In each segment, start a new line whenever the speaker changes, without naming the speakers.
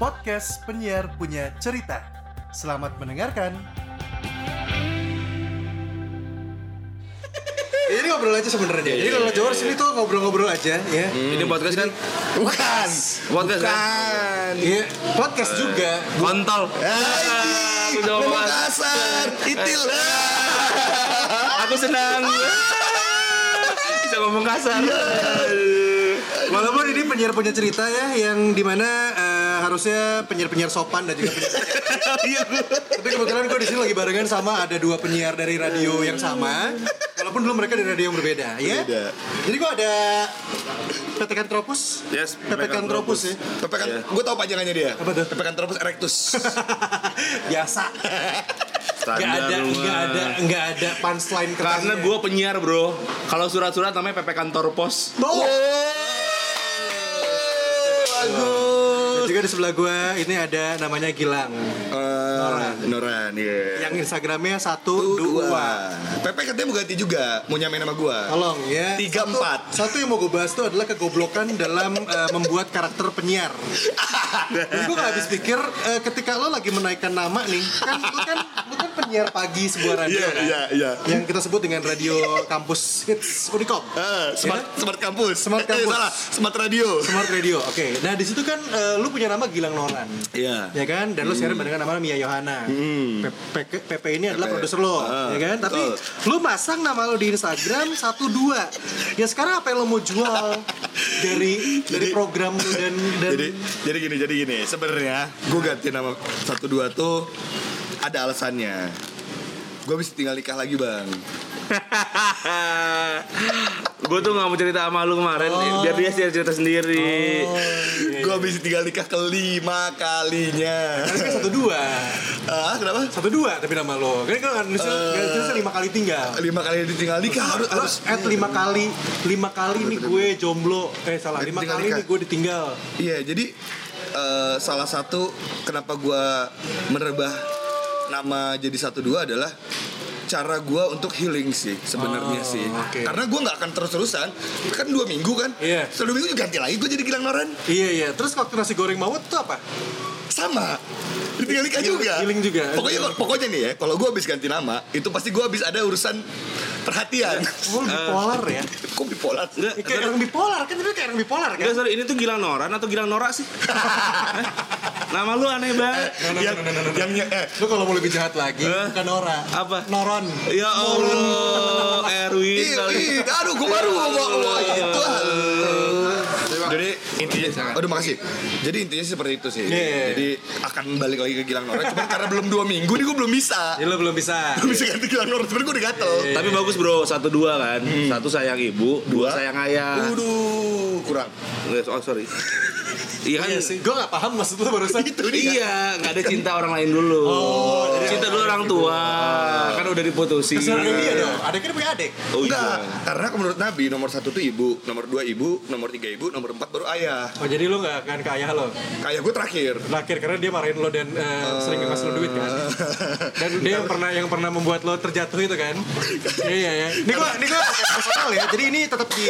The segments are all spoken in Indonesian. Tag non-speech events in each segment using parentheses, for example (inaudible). podcast penyiar punya cerita. Selamat mendengarkan. Jadi ngobrol aja sebenarnya. Jadi kalau Jawar sini tuh ngobrol-ngobrol aja ya.
Ini podcast kan
Bukan.
Podcast kan?
Bukan.
Iya, podcast juga.
kontol. Ah,
Hai,
Udah
ngomong
omongan.
kasar, itil.
Eh, ah. Aku senang. Bisa ngomong kasar.
Walaupun ini penyiar punya cerita ya yang dimana eh, harusnya penyiar-penyiar sopan dan juga penyiar
(laughs)
Iya,
Tapi kebetulan gue di sini lagi barengan sama ada dua penyiar dari radio yang sama. Walaupun dulu mereka dari radio yang berbeda, ya.
Berbeda.
Jadi gue ada Tetekan Tropus.
Yes,
Tetekan Tropus ya.
Tepekan,
Iya.
gue tau panjangannya dia.
Apa tuh?
Tepekan terus erectus.
(laughs) Biasa. Gak
Standar
ada,
lu
gak
mah.
ada, gak ada punchline ketannya.
Karena gue penyiar bro. Kalau surat-surat namanya PP kantor pos. (laughs)
Tuh. Dan
Bagus.
juga di sebelah gue ini ada namanya Gilang. Noran.
Eh, Noran, iya.
Yang Instagramnya satu dua.
Pepe katanya mau ganti juga, mau nyamain sama gua.
Tolong ya.
Tiga,
Satu-
empat.
Satu yang mau gue bahas itu adalah kegoblokan dalam eh, membuat karakter penyiar. Dan gue gak habis pikir eh, ketika lo lagi menaikkan nama nih, kan lo kan lo kan penyiar pagi sebuah radio
Iya,
kan.
iya, iya.
Yang kita sebut dengan radio kampus hits Unicom.
Eh, smart, smart kampus.
Iya? Smart
Eh,
kampus.
salah, smart radio.
Smart Radio, oke. Nah di situ kan eh, lu punya nama Gilang Nolan,
Iya.
ya kan? Dan lu siaran dengan nama Mia Yohana. Pe- pe- PP ini adalah
Pepe.
produser lo,
Hmm. Ah,
ya kan? Tapi lu masang nama lo di Instagram satu dua. Ya sekarang apa yang lo mau jual dari dari
Jadi-
program lu dan dan
jadi jadi gini jadi gini sebenarnya gue ganti nama satu dua tuh ada alasannya gue bisa tinggal nikah lagi bang
gue tuh gak mau cerita sama lu kemarin. Biar dia sih cerita sendiri.
Iya,
gue bisa tinggal nikah kelima
(laughs)
kalinya
Tapi kan satu dua,
ah kenapa
satu dua tapi nama lo. Kan kalau nulis
Eh.
nulisnya lima kali tinggal.
lima kali ditinggal nikah harus
Lo
harus
at lima kali, lima kali nih gue jomblo, eh salah lima
Tinggal
kali
nikah.
nih gue ditinggal.
iya jadi eh, salah satu kenapa gue merebah nama jadi satu dua adalah cara gue untuk healing sih sebenarnya
Oh,
sih
oke.
karena gue nggak akan terus terusan kan dua minggu kan
Iya.
Setelah dua minggu ganti lagi gue jadi Gilang Noran
Iya iya. Terus waktu nasi goreng mawut tuh apa?
sama ditinggal nikah juga
Giling Iya, juga.
pokoknya pokoknya nih ya kalau gue habis ganti nama itu pasti gue habis ada urusan perhatian
Oh,
Eh.
bipolar ya.
(laughs) kok bipolar sih?
Enggak,
Ya, kayak orang bipolar kan itu kayak orang bipolar kan.
Enggak, sorry, ini tuh Gilang Noran atau Gilang Nora sih? Hah? Nama lu aneh banget.
yang yang eh,
Lu kalau mau lebih jahat lagi, bukan Nora.
Apa?
Noron.
Ya Allah, Erwin
ih,
kali.
ih, aduh gue baru ngomong lo itu ah. jadi intinya aduh makasih jadi intinya sih seperti itu sih
Iya, iya, iya.
jadi akan balik lagi ke Gilang Nora cuma karena belum dua minggu nih gue belum bisa
Ya lu belum bisa.
belum bisa ganti Gilang Nora sebenernya gue udah gatel
Tapi bagus bro, satu dua kan.
Hmm.
Satu sayang ibu, dua,
Dua.
sayang ayah.
Waduh, kurang
Eh, Oh sorry. Iya kan?
Iya sih. Gue gak paham maksud lu barusan.
itu dia
Iya, nggak ada cinta orang lain dulu.
Oh,
cinta dulu orang tua, kan udah diputusin.
Sebenarnya Ah. dia dong. Ada kan punya adik.
Oh
Enggak,
iya.
karena menurut Nabi nomor satu tuh ibu, nomor dua ibu, nomor tiga ibu, nomor empat baru ayah.
Oh jadi lu gak akan ke ayah lo?
Kayak gue terakhir.
Terakhir karena dia marahin lo dan eh, sering ngasih lo duit kan? Dan dia yang pernah yang pernah membuat lo terjatuh itu kan? iya ya. Ini gua ini gua pakai personal ya. Jadi ini tetap di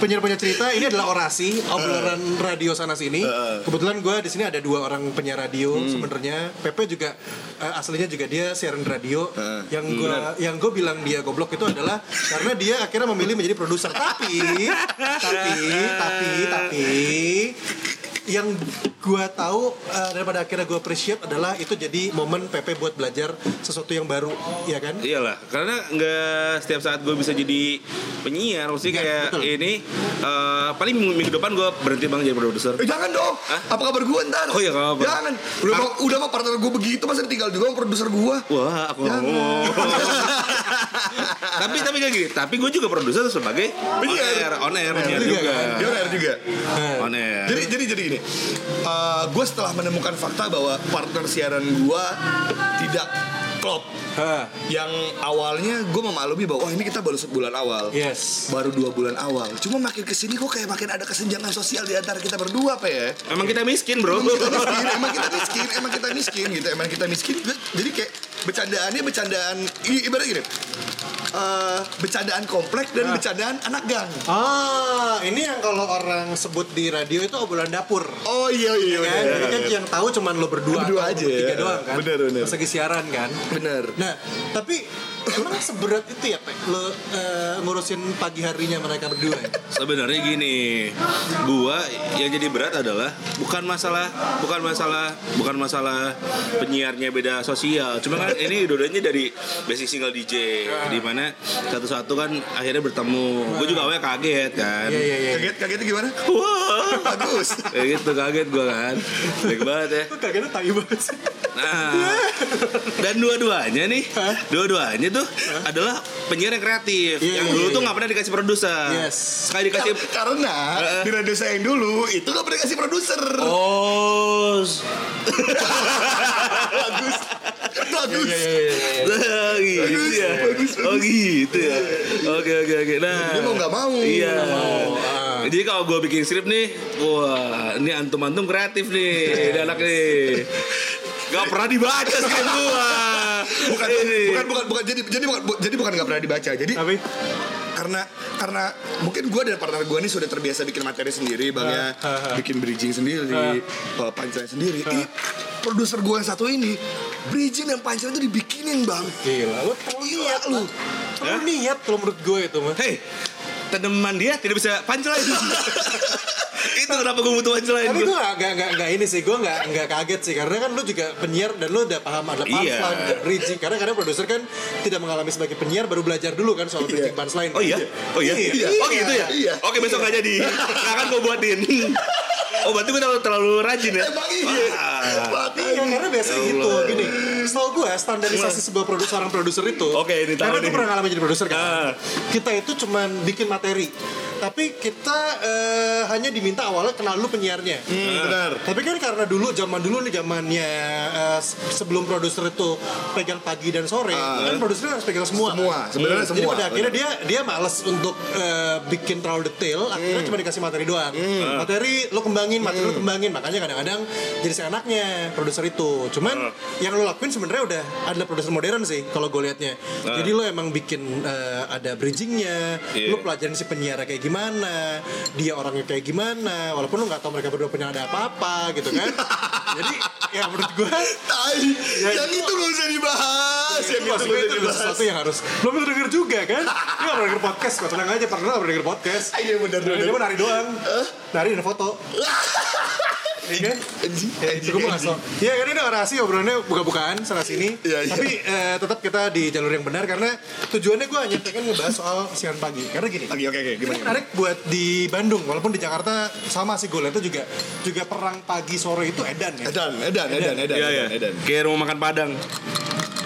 penyiar-penyiar cerita. Ini adalah orasi obrolan radio sana sini. Kebetulan gua di sini ada dua orang penyiar radio sebenarnya. Pepe juga eh, aslinya juga dia siaran radio.
Heeh.
Yang gua yang gua bilang dia goblok itu adalah karena dia akhirnya memilih menjadi produser. Tapi tapi tapi tapi yang gua tahu eh, daripada akhirnya gua appreciate adalah itu jadi momen Pepe buat belajar sesuatu yang baru, ya kan?
Iyalah, karena nggak setiap saat gue bisa jadi penyiar, mesti
Iya,
kayak
betul.
ini eh, paling minggu, minggu depan gue berhenti bang jadi produser.
Eh, jangan dong. Apa kabar gue ntar?
Oh iya, nggak apa-apa.
Jangan. Udah mau udah mau partner gue begitu masa ditinggal juga sama produser gue.
Wah, aku nggak ngomong. (laughs) tapi tapi kayak gini, tapi gue juga produser sebagai
Iya.
on
Penyiar.
air, on air, penyiar
juga,
juga.
kan?
Dia rare juga.
On air.
Jadi jadi jadi gini. gue setelah menemukan fakta bahwa partner siaran gue tidak klop.
Ah.
Hah,
Yang awalnya gue memaklumi bahwa "Wah, ini kita baru sebulan awal.
yes.
Baru dua bulan awal. Cuma makin kesini kok kayak makin ada kesenjangan sosial di antara kita berdua, Pe. ya.
Emang kita miskin bro.
Emang kita miskin, emang kita miskin, emang kita miskin gitu, emang kita miskin. Jadi kayak bercandaannya bercandaan i- ibarat gini. eh, becandaan komplek dan becandaan anak gang.
Ah, ini yang kalau orang sebut di radio itu obrolan dapur.
Oh iya
Kan?
iya bener.
Ini kan yang tahu cuman lo berdua,
Berdua
atau
aja,
bertiga
ya.
doang kan.
Bener, bener.
Persegi siaran kan.
Bener.
Nah, tapi emang seberat itu ya, Pak? Lo eh, ngurusin pagi harinya mereka berdua ya?
(laughs) Sebenarnya gini, gua yang jadi berat adalah bukan masalah, bukan masalah, bukan masalah penyiarnya beda sosial. Cuma kan ini dodanya dari basic single DJ, di mana satu-satu kan akhirnya bertemu. Gue juga awalnya kaget kan.
Iya, iya, iya.
Kaget kagetnya gimana?
Wah,
(laughs)
Bagus.
kayak gitu kaget gue kan, baik banget ya.
Itu kagetnya tai banget sih.
Nah, dan dua-duanya nih,
Hah?
dua-duanya tuh adalah penyiar yang kreatif.
Iya,
yang
iya,
dulu
iya,
tuh
iya.
nggak pernah dikasih produser.
Yes. Iya.
Sekali dikasih
Karena di radio saya yang dulu itu gak pernah kasih produser. (laughs)
Oh, s-
Bagus. Bagus.
Iya,
lah, gitu ya. Oh gitu ya. Oke oke oke. Nah,
Dia mau nggak mau. Ah.
Iya. Jadi kalau gue bikin skrip nih, wah, ini antum-antum kreatif nih, ini anak nih. Gak pernah dibaca skrip gua.
Bukan,
Iya,
Ini.
bukan bukan bukan jadi jadi bukan bu- jadi bukan nggak pernah dibaca. Jadi
Tapi
karena karena mungkin gue dan partner gue ini sudah terbiasa bikin materi sendiri bang ya
ah, ah.
bikin bridging sendiri
Iya.
uh, punchline sendiri ini produser gue yang satu ini bridging dan punchline itu dibikinin bang
gila, lo perlu
gila lu
Lu niat kalau menurut gue itu mah.
Hei, teman dia tidak bisa punchline.
(laughs)
itu kenapa gue butuh punchline
Tapi gue gak, gak, gak, gak ini sih, gue gak, gak kaget sih Karena kan lu juga penyiar dan lu udah paham ada punchline,
Iya.
ada bridging Karena kadang produser kan tidak mengalami sebagai penyiar baru belajar dulu kan soal bridging punchline
Oh iya, oh iya,
Iya.
oh gitu ya.
Iya.
Oke besok nggak jadi, nggak akan gue
(laughs)
buatin. Oh berarti gue terlalu, terlalu rajin ya?
emang iya
Wah.
Iya, karena biasanya
Ya
gitu gini. Setahu gue standarisasi sebuah produser seorang produser itu.
Oke, ini tahu
Karena gue
nih.
pernah ngalamin jadi produser kan.
Ah.
Kita itu cuman bikin materi. Tapi kita eh, hanya diminta awalnya kenal lu penyiarnya.
Hmm,
benar
Tapi kan karena dulu zaman dulu nih zamannya eh, se- sebelum produser itu pegang pagi dan sore,
Ah.
kan produser harus pegang semua.
Semua, sebenarnya
Iya. Jadi
semua.
pada akhirnya dia dia males untuk eh, bikin terlalu detail,
Hmm.
akhirnya cuma dikasih materi doang. Materi lo kembangin, materi lo kembangin.
Hmm.
Makanya kadang-kadang jadi seenaknya produser itu. Cuman
Hmm.
yang lo lakuin sebenarnya udah adalah produser modern sih kalau gue liatnya.
Hmm.
Jadi lo emang bikin eh, ada bridgingnya,
Iya.
lo pelajarin si penyiar kayak gimana, dia orangnya kayak gimana, walaupun lo nggak tahu mereka berdua punya ada apa-apa gitu
(laughs)
kan. Jadi ya menurut gue
tai
Iya,
yang itu gak usah dibahas yang
itu
itu
Iya, maksudnya itu
gak usah
adalah
dibahas
sesuatu yang harus belum tentu denger juga kan dia nggak pernah denger podcast kok tenang aja pernah nggak pernah denger podcast
Ah, iya, bener,
Dia-
bener.
dia mah nari doang nari dan (laughs) foto Iya kan?
Anjing, anjing,
Gue mau
anjing.
ngasih Ya ini udah rahasia obrolannya buka-bukaan sana sini
Iya, iya.
Tapi eh, tetap kita di jalur yang benar Karena tujuannya gue hanya pengen ngebahas soal siaran pagi Karena gini
Oke, oke, oke, gimana,
Ini menarik buat di Bandung Walaupun di Jakarta sama sih gue liatnya juga Juga perang pagi sore itu edan ya
edan edan edan edan
Iya ya.
edan, edan
Kayak rumah makan Padang.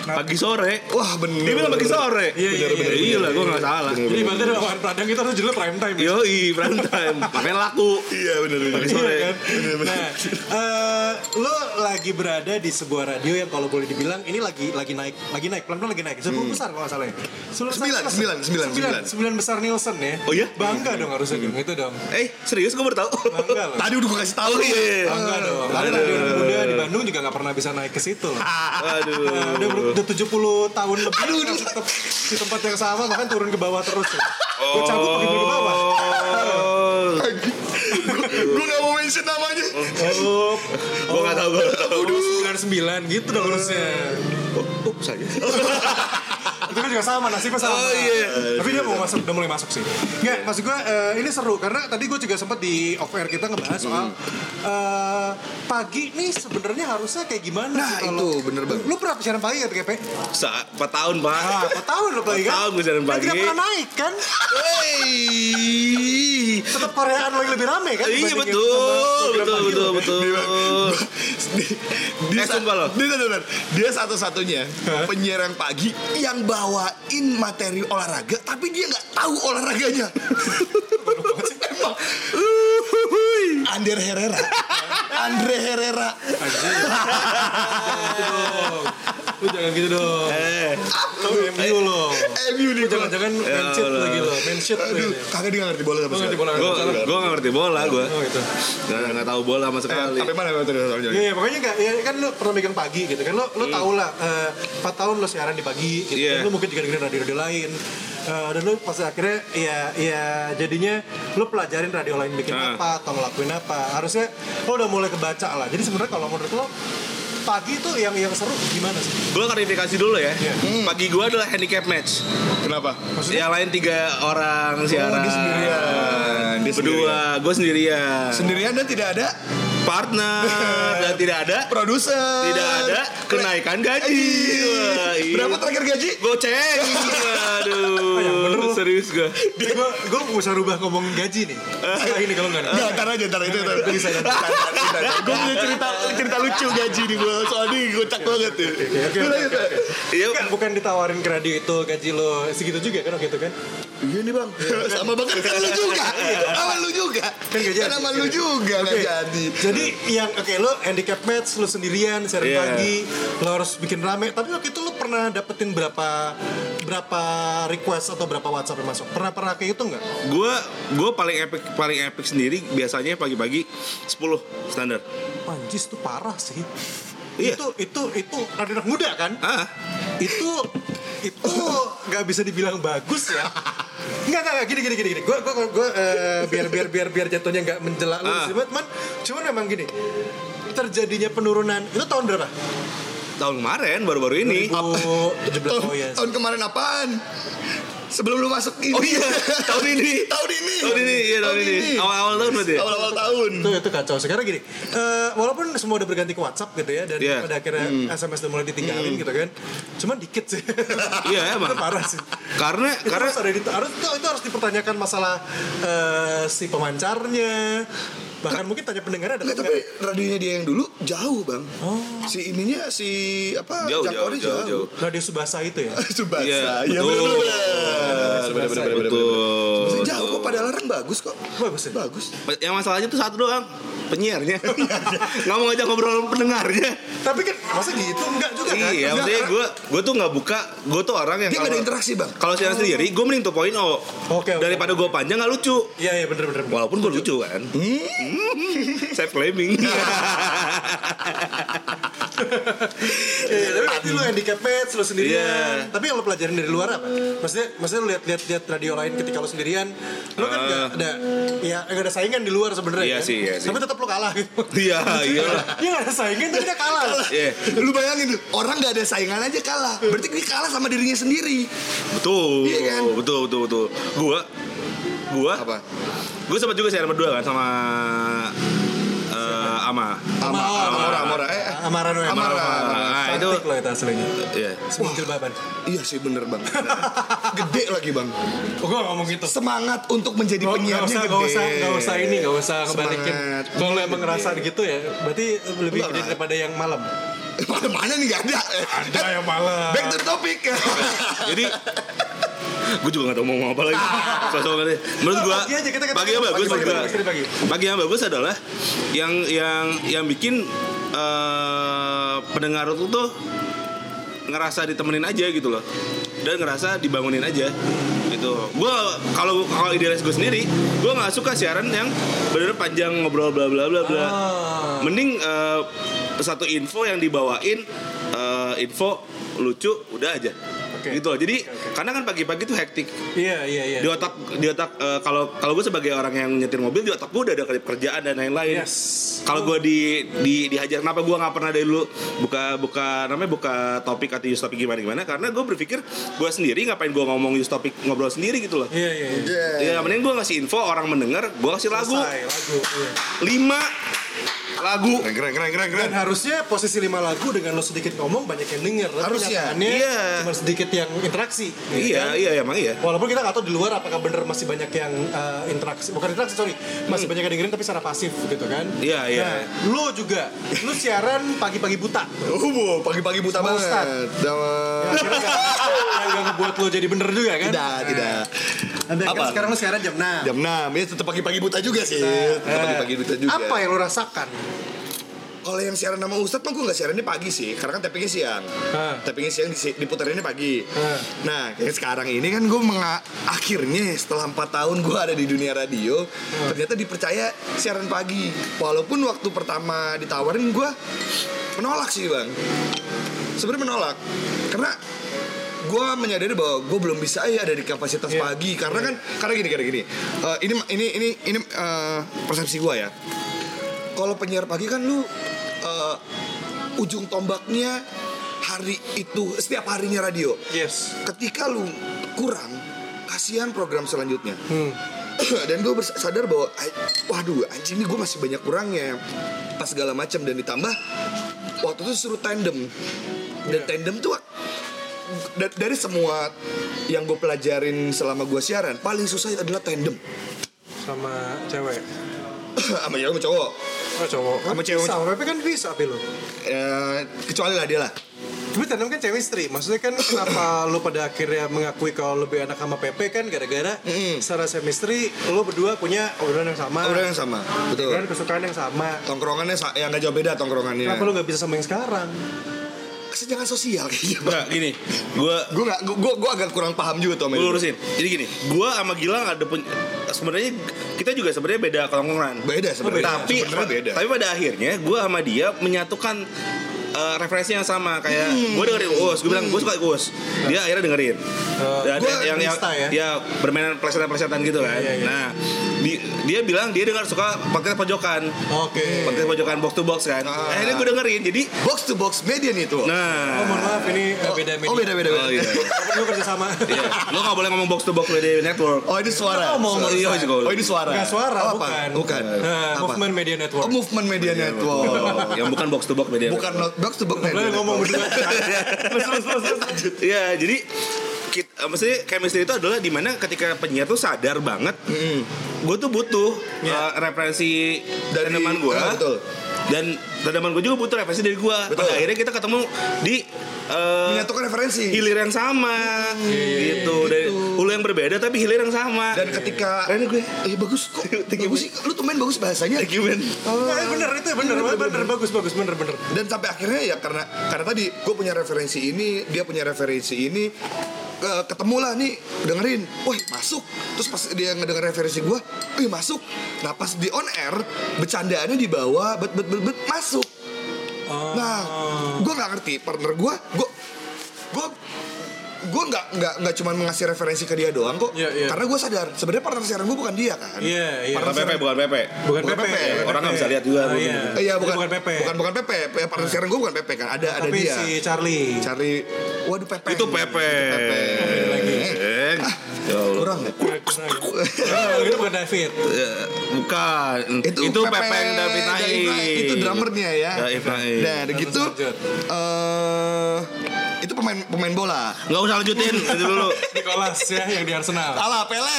Pagi sore.
wah bener
Dia bilang pagi sore.
Iya, iya,
bener,
iya,
Iya lah, gue nggak salah.
Jadi berarti lawan Pradang itu harus judulnya prime time ya?
Yoi, prime time. Makanya laku.
iya bener bener
Pagi
Iya
sore.
kan? Nah, eh, lo lagi berada di sebuah radio yang kalau boleh dibilang ini lagi lagi naik, lagi naik, pelan-pelan lagi naik. Sepuluh
Hmm.
besar kalau nggak salah ya. Sepuluh besar,
Sembilan,
Nielsen.
sembilan, sembilan,
sembilan,
sembilan.
sembilan besar Nielsen ya.
Oh iya?
Bangga dong harusnya dong, itu dong.
Eh, serius gue baru tahu.
Bangga loh.
tadi udah gue kasih tahu
Oh iya. iya.
Bangga dong. Karena radio anak muda di Bandung juga nggak pernah bisa naik ke situ loh.
(laughs)
Nah, udah, ber- udah
Aduh.
70 tahun lebih masih tetap di tempat yang sama bahkan turun ke bawah terus ya. Gue cabut pergi dulu ke bawah.
Oh.
gue gak mau mention namanya
Oh, gue nggak tahu, gue nggak tahu.
Udah 99 gitu dong harusnya.
Oh,
(laughs)
saya.
itu kan juga sama nasibnya sama
Oh, iya.
tapi dia mau masuk udah mulai masuk sih nggak maksud gue eh, ini seru karena tadi gue juga sempat di off air kita ngebahas soal eh, pagi nih sebenarnya harusnya kayak gimana
Nah,
sih kalau-
itu bener banget.
lu pernah siaran pagi ya TKP
Sa- Empat tahun pak.
ah apa tahun lu pagi kan
Tahun gue siaran
Dan
pagi.
tidak pernah naik kan
Hei.
tetap Koreaan lo yang lebih rame kan
Iya
dibandingin
betul,
sama program
betul,
pagi
betul,
lo.
Iya, betul.
Dia- dia,
Eh, sumpah lo.
dia, satu- bener. dia satu-satunya
Hah?
penyiar yang pagi yang bawain materi olahraga tapi dia nggak tahu olahraganya (laughs) emang Ander
(laughs)
Herrera Andre Herrera
Anjing. Gitu dong. Lu jangan gitu dong.
Eh, Ya
Lu MU lo.
MU nih gua.
Jangan-jangan man shit
Allah.
lagi lo. Man shit lo.
Aduh, kagak dia nggak ngerti bola sama
Lu
sekali.
ngerti bola
gue
nggak?
gue nggak ngerti bola gue,
Oh gitu.
nggak nggak tahu bola sama
Eh,
sekali.
Sampai mana tadi soalnya?
Iya, pokoknya kayak ya, kan lu pernah megang pagi gitu kan. Lu lu tau lah eh, 4 tahun lu siaran di pagi gitu.
Hmm. Iya.
Dan Lu mungkin juga dengerin radio-radio lain. Eh, dan lu pas akhirnya ya ya jadinya lu pelajarin radio lain bikin
Ah.
apa atau ngelakuin apa. Harusnya lu udah mulai kebaca lah. Jadi sebenarnya kalau menurut lu pagi itu yang yang seru gimana sih?
Gue klarifikasi dulu ya.
Iya.
Hmm.
Pagi gue adalah handicap match.
Kenapa?
Maksudnya
Yang lain tiga orang siaran.
dia sendirian. Dia
Berdua, gue sendirian.
Sendirian dan tidak ada
Partner dan tidak ada,
produser.
tidak ada kenaikan gaji.
Ih,
Wah, iya.
Berapa terakhir gaji?
Goceng.
Ah, yang bener
Aduh,
lu.
serius gue.
gue gue bisa rubah ngomong gaji nih.
Eh.
Setelah ini kalau enggak. nih.
Ya, ntar aja, ntar itu, ntar. Gue punya cerita cerita lucu gaji nih gue, soalnya kocak banget tuh.
oke,
Lu lanjut, Pak.
Iya,
Bukan, bukan ditawarin ke radio itu gaji lo segitu juga kan waktu itu kan?
Iya nih bang, sama bang kan lu juga, sama lu juga,
Kan nggak
kan
jadi.
sama lu juga nggak
Oke.
jadi.
Jadi yang oke lo handicap match lo sendirian siaran
Iya.
pagi lo harus bikin rame. Tapi waktu itu lo pernah dapetin berapa berapa request atau berapa WhatsApp yang masuk? Pernah pernah kayak itu nggak?
gue gue paling epic paling epic sendiri biasanya pagi-pagi 10 standar.
Panjis tuh parah sih.
Iya.
Itu itu itu radio anak muda kan?
Ah,
itu itu nggak bisa dibilang bagus ya nggak nggak nggak, gini gini gini gini gue gue gue eh, biar biar biar biar jatuhnya nggak menjelak lu
Ah.
sih, cuman cuman memang gini terjadinya penurunan itu tahun berapa
tahun kemarin baru-baru ini.
2017 oh ya
Tahun kemarin apaan? Sebelum lu masuk ini.
Oh iya, tahun ini.
tahun ini.
Tahun ini, iya tahun ini. Awal-awal tahun berarti. ya?
Awal-awal tahun.
itu itu kacau sekarang gini eh, walaupun semua udah berganti ke WhatsApp gitu ya dan
Iya. Hmm.
pada akhirnya SMS udah mulai ditinggalin gitu kan cuman dikit sih
Iya,
(laughs) Itu
emang.
parah sih
Karena
itu
karena
harus ada di- harus itu, itu harus dipertanyakan masalah eh, si pemancarnya bahkan mungkin tanya pendengarnya ada apa
Nggak, tapi radionya dia yang dulu jauh bang.
Oh.
Si ininya si apa?
Jauh, jauh,
jangkauannya
jauh, jauh.
nggak? radio subasa itu ya
(laughs) Subasa.
Iya,
Iya
betul.
benar-benar.
Eh,
Benar-benar.
Betul.
Masih jauh kok pada larang bagus kok.
Bagus ya?
Bagus.
Yang masalahnya tuh satu doang, penyiarnya. Nggak mau ngajak ngobrol pendengarnya.
tapi kan masa gitu enggak juga kan Enggak,
Iya, maksudnya
karena-
gue gue tuh nggak buka, gue tuh orang yang
Dia nggak ada
kalau-
interaksi bang.
Kalau siaran sendiri, gue mending to point oh.
Oke, oke.
Daripada gue panjang nggak lucu.
iya iya bener bener bener.
Walaupun gue lucu kan.
Hmm?
Saya claiming.
Iya, tapi nanti lu handicap match lu sendirian
Iya.
tapi yang lu pelajarin dari luar apa maksudnya maksudnya lu lihat lihat lihat radio lain ketika lu sendirian lu kan nggak ada ya nggak ada saingan di luar sebenarnya
Iya
kan?
sih, iya sih.
tapi tetap lu kalah gitu
Iya, iyalah.
Iya nggak ada saingan tapi dia kalah
Iya,
Lu bayangin tuh, orang nggak ada saingan aja kalah. Berarti dia kalah sama dirinya sendiri.
betul.
Iya kan?
Betul, betul, betul. Gue gue
Apa?
gue sempat juga siaran berdua kan sama eh Ama.
Ama, Amora, Amora. Eh, eh.
Amara Noe.
Amara.
Ah, itu
Cantik loh itu aslinya.
Iya.
Semua jilbaban.
Iya sih bener
(laughs)
bang. Gede lagi bang.
Oh, gue gak ngomong gitu.
Semangat untuk
Gak,
menjadi
gak
penyiarnya
usah,
gede.
gak usah, gak usah ini, gak usah ngebalikin.
Semangat.
Kalau lu emang ngerasa gitu ya, berarti lebih
Enggak
gede
lah.
daripada yang malam.
Mana mana nih gak ada.
Ada yang malam.
Back to topic.
Jadi gue juga gak tau mau ngomong apa lagi. Sosok aja. Menurut gue
Pagi aja, kita ketemu.
pagi yang bagus
Pagi,
menurut
pagi,
gua.
pagi, pagi.
Pagi yang bagus adalah yang yang yang bikin eh, pendengar itu tuh ngerasa ditemenin aja gitu loh dan ngerasa dibangunin aja gitu gue kalau kalau idealis gue sendiri gue nggak suka siaran yang bener panjang ngobrol bla bla bla bla
Ah.
mending eh, satu info yang dibawain eh, info lucu udah aja
Oke.
gitu loh. jadi karena kan pagi-pagi tuh hektik
Iya, iya, iya.
di otak di otak eh, kalau kalau gue sebagai orang yang nyetir mobil di otak gue udah ada kerjaan dan lain-lain
Yes.
kalau gue di, di dihajar kenapa gue nggak pernah dari dulu buka buka namanya buka topik atau use topik gimana gimana karena gue berpikir gue sendiri ngapain gue ngomong use topik ngobrol sendiri gitu loh
Iya, iya, iya.
ya mending gue ngasih info orang mendengar gue kasih lagu
Selesai, lagu. iya.
lima lagu
Keren, keren, keren, keren, keren.
Dan harusnya posisi lima lagu dengan lo sedikit ngomong banyak yang denger. Tapi
Harusnya.
kenyataannya
Iya.
Cuma sedikit yang interaksi. kan?
iya iya emang iya
Walaupun kita nggak tahu di luar apakah bener masih banyak yang eh, interaksi, bukan interaksi sorry, masih banyak yang dengerin tapi secara pasif gitu kan?
Iya, iya.
Nah, lu juga, lu siaran pagi-pagi buta. (laughs)
Oh, wow, pagi-pagi buta
Sama
banget.
Ustaz.
Sama-
Akhirnya nggak- nggak ngebuat lu jadi bener juga kan?
Tidak, tidak.
Nah,
Apa?
Kan sekarang lu siaran jam 6
Jam 6, ya tetap pagi-pagi buta juga sih.
Nah,
Tetap pagi-pagi buta juga.
Apa yang lu rasakan?
kalau yang siaran nama Ustadz mah gue nggak siarannya pagi sih karena kan tappingnya siang
Hah.
tappingnya siang disi- diputerinnya pagi
Hah.
nah yang sekarang ini kan gue menga- akhirnya setelah 4 tahun gue ada di dunia radio ternyata dipercaya siaran pagi walaupun waktu pertama ditawarin gue menolak sih bang sebenarnya menolak karena gue menyadari bahwa gue belum bisa ya ada di kapasitas
Iya.
pagi karena kan karena gini karena gini Eh, ini ini ini ini eh, persepsi gue ya kalau penyiar pagi kan lu eh, ujung tombaknya hari itu setiap harinya radio
Yes.
ketika lu kurang kasihan program selanjutnya
Hmm.
(clears throat) dan gue sadar bahwa ay- waduh anjing ini gue masih banyak kurangnya pas segala macam dan ditambah waktu itu suruh tandem dan
Iya.
tandem tuh da- dari semua yang gue pelajarin selama gue siaran paling susah adalah tandem (clears throat)
Sama cewek.
sama yang cowok
Oh cowok.
Sama cewek.
Bisa, tapi kan bisa tapi lo.
Eh, kecuali lah dia lah
Tapi tanam kan chemistry, maksudnya kan
(coughs)
kenapa lo pada akhirnya mengakui kalau lebih enak sama Pepe kan gara-gara
Mm-mm.
secara chemistry lo berdua punya obrolan yang sama,
orang yang sama betul
kan kesukaan yang sama.
tongkrongannya sa- yang gak jauh beda tongkrongannya
Kenapa lo gak bisa sama yang sekarang?
kesenjangan sosial gitu. kayaknya
Nggak, gini, gue
gue gak gue gue agak kurang paham juga tuh
Gue
sama itu.
lurusin. Jadi gini, gua sama Gilang ada pun sebenarnya kita juga sebenarnya beda kelongkongan. Oh,
beda sebenarnya
Tapi
Sebenarnya beda
tapi pada akhirnya gua sama dia menyatukan eh, referensi yang sama kayak
Hmm.
gua dengerin Uus, gua bilang gua suka Uus. Dia akhirnya dengerin. Dan
Nah. Eh, gua
yang yang
Krista ya.
ya permainan plesetan-plesetan gitu kan.
Iya, iya, iya.
Nah, di- dia bilang dia dengar suka podcast pojokan.
Oke.
Podcast pojokan box to box kan.
Ah.
Akhirnya gua dengerin. Jadi
box to box media nih tuh
Oh mohon
nah
maaf ini eh, beda media.
oh beda beda beda
Oh, iya.
Tapi lo kerja sama.
Iya. Lo gak boleh ngomong box to box media network.
(laughs) oh ini suara
Oh, mau
Suara.
Iya, juga.
oh ini suara
Nggak suara,
Oh, apa?
bukan.
bukan
Nah,
Apa?
Movement Media Iya,
Oh,
Network.
movement media network
Oh, yang bukan box ya? to box media.
bukan not box to box
Lo
media
yang ngomong berdua. Terus, terus, terus, terus.
Iya, jadi kita, eh, maksudnya chemistry itu adalah dimana ketika penyiar tuh sadar banget, gue tuh butuh eh, referensi
Dari-
dari teman gue,
ah, betul.
dan teman gue juga butuh referensi dari gue.
Betul.
Pada akhirnya kita ketemu di eh,
menyatukan referensi
hilir yang sama, gitu, dari hulu yang berbeda tapi hilir yang sama.
dan ketika
Keren gue.
eh bagus kok bagus sih lu tuh main bagus bahasanya Oh.
Thank you, man.
Eh, bener itu bener bener bagus bagus bener bener.
dan sampai akhirnya ya karena karena tadi gue punya referensi ini dia punya referensi ini ke- ketemulah nih dengerin, wah masuk. Terus pas dia ngedenger referensi gue, wih masuk. Nah pas di on air bercandaannya di bawah, bet bet bet, bet, masuk. Nah
Oh.
gue nggak ngerti partner gue, gue gue gue nggak nggak nggak cuma ngasih referensi ke dia doang kok,
Iya, iya.
karena gue sadar sebenarnya partner siaran gue bukan dia kan.
Iya iya.
Bukan Pepe, bukan Pepe.
Bukan
bukan
Pepe.
Pepe.
bukan
Orang nggak
Pepe.
bisa lihat juga.
Ah, Iya
Eh, Iya bukan,
bukan Pepe. Nah.
bukan bukan Pepe, Ya, partner siaran gue bukan Pepe kan, ada ada
Tapi
dia.
si Charlie.
cari waduh pepe
Itu Pepe. Eng. Ya Allah.
Eh, kurang
Oh, itu bukan David.
Ya, bukan
itu,
itu,
Pepe
Pepeng David Naik
itu drummernya ya
David Naik
nah ada gitu
Lanjut.
eh itu pemain pemain bola
nggak usah lanjutin itu dulu
Nicholas ya yang di Arsenal.
ala pele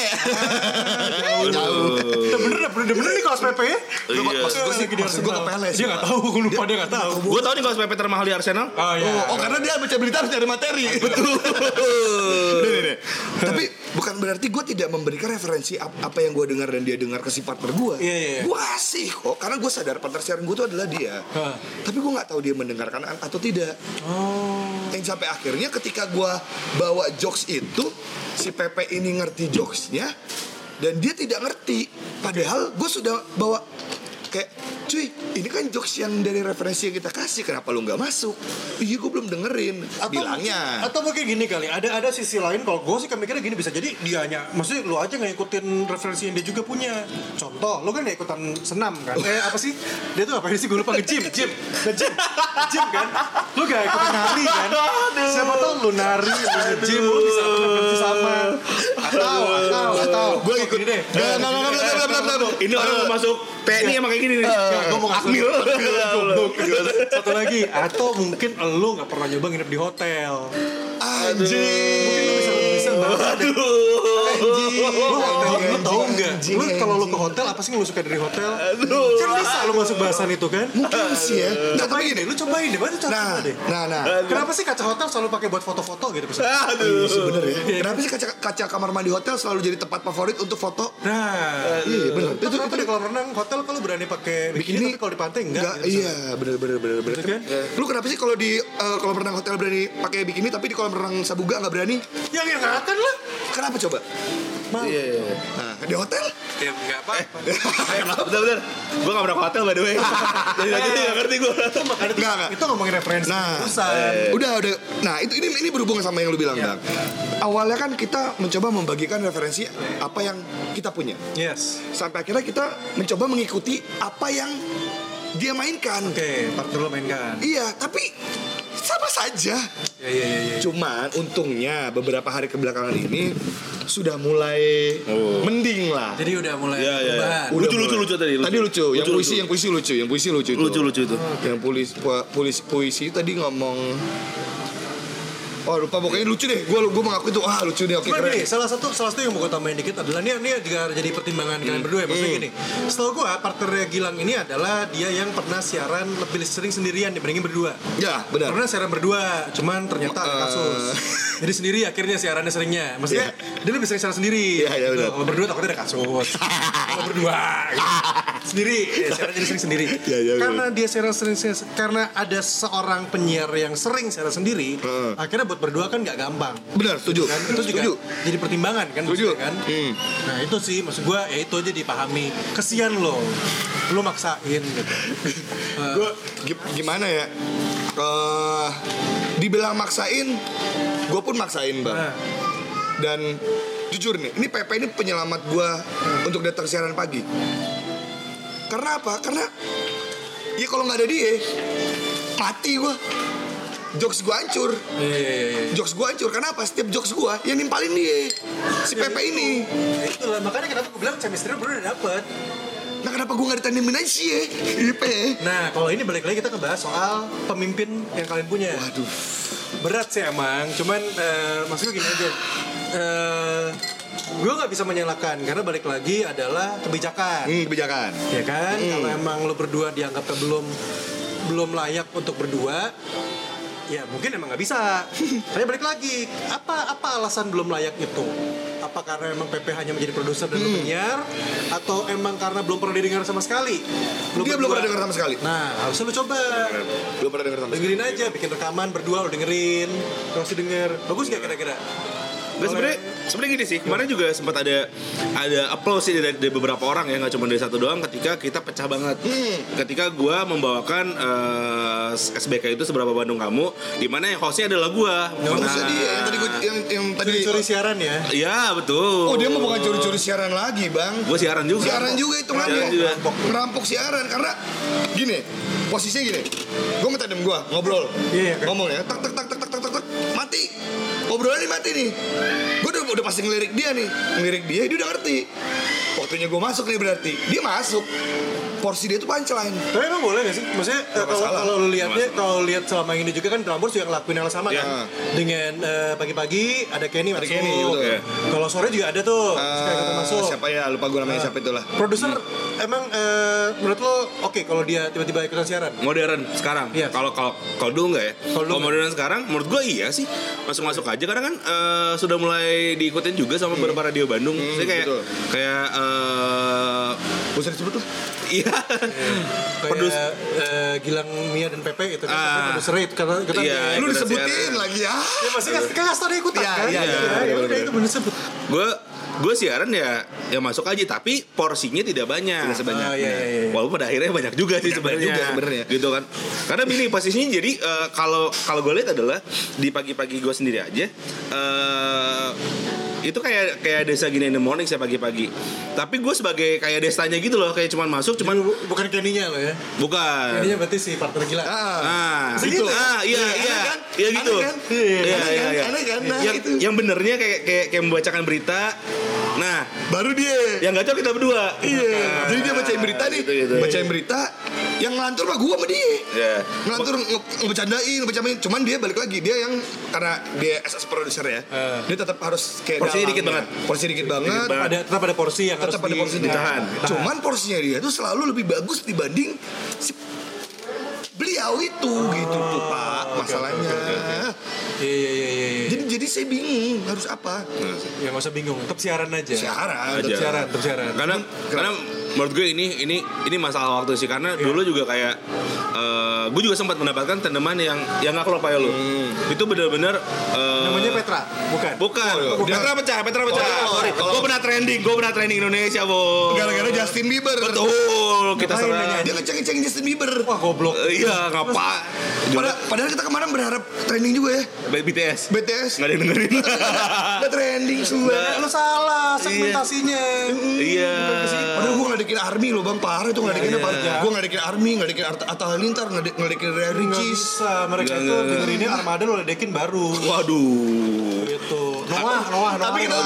Aduh.
Udah bener udah bener bener Nicholas Pepe ya.
Iya.
maksud gue sih
Lagi di
maksud gue ke
Arsenal.
pele sih
Dia nggak tahu, gue lupa dia nggak tahu.
gue tau nih kalau Pepe termahal di Arsenal
Oh iya.
Oh, oh, karena dia baca berita harus cari materi. Betul. Nih, nih, nih. (laughs) Tapi bukan berarti gue tidak memberikan referensi ap- apa yang gue dengar dan dia dengar ke si partner gue.
Iya, iya, iya.
Gue kasih kok, karena gue sadar partner siaran gue itu adalah dia.
Hah.
Tapi gue nggak tahu dia mendengarkan an- atau tidak.
Oh.
Yang Eh, sampai akhirnya ketika gue bawa jokes itu, si Pepe ini ngerti jokesnya dan dia tidak ngerti. Padahal gue sudah bawa kayak cuy ini kan jokes yang dari referensi yang kita kasih kenapa lu nggak masuk iya gue belum dengerin bilangnya
atau mungkin gini kali ada ada sisi lain kalau gue sih mikirnya gini bisa jadi dia hanya maksudnya lu aja nggak ikutin referensi yang dia juga punya contoh lu kan nggak ikutan senam kan eh apa sih dia tuh apa sih gue lupa nge-gym gym nge-gym gym kan lu gak ikutan nari kan siapa tau lu nari lu nge-gym lu bisa dapat referensi sama atau atau atau
gue Oh, ikut Nah,
Gini
deh
deh
Eh,
nggak nggak nggak nggak nggak nggak, nggak
ini orang mau masuk Eh, TNI emang kayak gini nih
Gue mau ngasih
Akmil
Goblok. Satu lagi Atau mungkin Lu gak pernah nyoba nginep di hotel
anjing
Mungkin lu bisa Bisa tahu ada
Aduh.
Anjing.
Lu, lu tau nggak?
Anjing,
Lu kalau lu
anjing.
ke hotel apa sih yang lu suka dari hotel?
Aduh.
Kan bisa lu masuk bahasan itu kan?
Mungkin sih ya. Nggak, tapi
Cobain deh, lu cobain deh, baru
Nah,
coba deh.
nah, nah.
Kenapa sih kaca hotel selalu pakai buat foto-foto gitu misalnya?
Aduh.
Iya sih bener ya. Kenapa sih kaca, kaca kamar mandi hotel selalu jadi tempat favorit untuk foto?
Nah,
Iya bener.
itu itu di kolam renang hotel kalau berani pakai bikini, tapi kalau di pantai enggak. gitu.
iya bener bener bener bener.
Gitu kan?
Eh, Lu kenapa sih kalau di eh, kolam renang hotel berani pakai bikini tapi di kolam renang Sabuga nggak berani?
Yang yang Ya, akan lah.
Kenapa coba?
Mau.
Nah, di hotel?
Ya enggak apa-apa. Eh, Bentar bentar. Gua enggak pernah ke hotel by the way. Jadi tadi enggak ngerti gua.
Makanya itu,
Nggak, nggak.
itu ngomongin referensi.
Nah,
urusan.
Udah, udah. Nah, itu ini ini berhubungan sama yang lu bilang,
Iya.
Bang. Awalnya kan kita mencoba membagikan referensi apa yang kita punya.
Yes.
Sampai akhirnya kita mencoba mengikuti apa yang dia mainkan.
Oke, part dulu mainkan.
Iya, tapi sama saja.
Ya ya ya ya.
Cuman untungnya beberapa hari kebelakangan ini sudah mulai
Oh.
mending lah.
Jadi udah mulai
Ya ya. ya.
perubahan.
Lucu lucu
Udah mulai.
lucu tadi.
Tadi lucu, yang
lucu.
puisi yang puisi lucu, yang puisi lucu itu.
lucu lucu itu.
Yang puisi puisi puisi tadi ngomong Oh lupa pokoknya lucu deh. Gua gua mengaku itu ah lucu deh. Oke
Cuman
keren.
gini, salah satu salah satu yang mau gue tambahin dikit adalah ini ini juga jadi
Hmm.
pertimbangan kalian berdua ya. Maksudnya gini, setahu gue partnernya Gilang ini adalah dia yang pernah siaran lebih sering sendirian dibandingin berdua.
Ya, benar.
Pernah siaran berdua, cuman ternyata
Eh.
ada kasus. Jadi sendiri akhirnya siarannya seringnya. Maksudnya dia lebih sering siaran sendiri.
Iya, iya,
Gitu.
benar.
Kalau berdua takutnya ada kasus.
(laughs)
Kalau berdua gitu. sendiri, ya, siaran jadi sering sendiri.
Iya, iya, benar.
karena dia siaran sering sering- karena ada seorang penyiar yang sering siaran sendiri,
Heeh.
akhirnya buat berdua kan nggak gampang.
Benar, setuju.
Kan? Itu juga
Setuju.
jadi pertimbangan kan
Setuju.
maksudnya kan.
Hmm.
Nah itu sih maksud gue ya itu aja dipahami. Kesian lo, lo maksain
(laughs)
gitu. Eh,
Gua gi- gimana ya? Eh dibilang maksain, gua pun maksain, Bang.
nah,
dan jujur nih ini PP ini penyelamat gua untuk datang siaran pagi karena apa karena ya kalau nggak ada dia mati gua jokes gua hancur
iya, iya, iya, iya.
jokes gua hancur karena apa setiap jokes gua yang nimpalin dia si PP ini
Ya itulah makanya kenapa gue bilang chemistry bro udah dapet
nah kenapa gua nggak ditandemin aja sih ya IP
nah kalau ini balik lagi kita ngebahas soal pemimpin yang kalian punya
waduh
berat sih emang cuman eh, maksud gue gini aja gue nggak bisa menyalahkan karena balik lagi adalah kebijakan
hmm, kebijakan
ya kan
Mm.
kalau emang lo berdua dianggapnya belum belum layak untuk berdua ya mungkin emang nggak
(laughs)
bisa tapi balik lagi apa apa alasan belum layak itu apa karena emang PP hanya menjadi produser dan
Mm.
lo penyiar atau emang karena belum pernah didengar sama sekali Lo
dia
berdua-
belum pernah dengar sama sekali
Nah, harusnya lu coba.
belum pernah dengar sama sekali
Dengerin aja, bikin rekaman berdua lu dengerin, terus denger. Bagus gak kira-kira?
Nggak sebenarnya sebenarnya gini sih kemarin juga sempat ada ada applause sih dari, dari beberapa orang ya nggak cuma dari satu doang ketika kita pecah banget
Hmm.
ketika gua membawakan eh, SBK itu seberapa Bandung kamu di mana yang hostnya adalah gua Nah.
Bagus tadi ya, yang tadi gua yang yang tadi
Curi-curi siaran ya.
ya betul
oh dia mau bukan curi-curi siaran lagi bang
gua siaran juga
siaran juga ya? hitungannya
Siaran juga.
merampok merampok siaran karena gini posisinya gini gue minta dem gue ngobrol
Iya, iya, kan.
ngomong ya tak tak tak tak tak tak tak, tak. mati obrolan ini mati nih gue udah, udah pasti ngelirik dia nih ngelirik dia dia udah ngerti waktunya gue masuk nih berarti dia masuk porsi dia tuh punchline
Tapi emang boleh gak sih? Maksudnya eh, kalau
masalah.
kalau lu lihatnya kalau lihat selama ini juga kan Prambors juga ngelakuin hal sama
Iya.
kan. Dengan eh, pagi-pagi ada Kenny masuk.
Kenny, betul.
Iya. Kalau sore juga ada tuh. Sekali kita
Eh,
masuk.
siapa ya lupa gue
Ah.
namanya siapa itulah
Produser emang eh, menurut lo oke kalau dia tiba-tiba ikutan siaran?
modern sekarang.
Iya.
Kalau kalau kalau dulu nggak ya?
Kalau dulu
Kalau modern sekarang, menurut gua iya sih. Masuk masuk aja karena kan eh, sudah mulai diikutin juga sama beberapa radio Bandung. Jadi kayak
Iya. Hmm, betul.
kayak eh, (laughs)
gue usah disebut lah
iya.
Kayak
Produs-
eh, Gilang Mia dan Pepe itu kan
Ah.
produsernya itu karena kita
Iya.
ya,
lu
ikutan
disebutin
siaran.
lagi ya
masih kan kan Astor ikutan
Iya,
kan
iya, iya,
Ya,
iya,
ya udah
bener-bener.
itu bener sebut
Gue gue siaran ya ya masuk aja tapi porsinya tidak banyak sebanyak
Oh,
iya, iya, iya.
walaupun pada akhirnya banyak juga sih sebenarnya
juga sebenarnya.
gitu kan karena gini posisinya jadi eh, kalau kalau gue lihat adalah di pagi-pagi gue sendiri aja eh itu kayak kayak desa gini in the morning saya pagi-pagi tapi gue sebagai kayak desanya gitu loh kayak cuman masuk
Iya,
cuman
Bu- bukan Kenny-nya loh ya
bukan
Kenny-nya berarti si partner gila
ah,
ah
Iya. gitu.
ah iya
Aneh
iya
kan?
iya gitu
Aneh kan?
iya
Aneh
iya
kan?
iya
Aneh kan? Nah,
yang
itu.
yang benernya kayak kayak kayak membacakan berita nah
baru dia
yang gacor kita berdua
Iya. Jadi dia bacain berita
Iya.
nih,
Gitu, gitu.
bacain berita. yang ngelantur mah gua sama dia
Iya.
ngelantur nge- ngebecandain ngebecandain cuman dia balik lagi dia yang karena dia SS produser ya
Eh.
dia tetap harus kayak
Porsinya
dalangnya.
dikit banget.
porsinya dikit banget
banget.
ada tetap ada porsi yang
tetap
harus
ada
di-
porsinya
ditahan.
cuman porsinya dia tuh selalu lebih bagus dibanding si beliau itu gitu tuh
Oh,
pak masalahnya
Iya iya iya iya. iya.
jadi jadi saya bingung harus apa
Ya nggak usah bingung, tetap siaran aja.
siaran
Tetap
Aja. Kan,
siaran, tetap siaran.
karena karena menurut gue ini ini ini masalah waktu sih karena
Iya.
dulu juga kayak eh, gue juga sempat mendapatkan teman yang yang nggak klop kayak lo
Hmm.
itu benar-benar eh,
Namanya Petra, bukan?
bukan kan- Petra pecah Petra pecah
iya. Oh, sorry.
gue pernah trending gue pernah trending Indonesia bo
gara-gara Justin Bieber
betul kita
Ngapain
serang
dia ngeceng-ngecengin Justin Bieber
Wah goblok.
Eh, iya ngapa
Padahal, padahal kita kemarin berharap trending juga ya
BTS
(laughs) BTS
nggak ada yang dengerin
Gak trending semua
Lu salah segmentasinya.
iya
Padahal gue ngadekin ARMY loh bang Parah itu ngadekin apa Gue ngadekin ARMY Ngadekin Art- Atta Halilintar ngade- Ngadekin Ria
Nggak
Ricis
bisa, mereka
Nggak,
itu
nggak,
dengerinnya Armada lo ledekin baru.
waduh
Gitu. Noah, Noah, Noah.
Tapi kita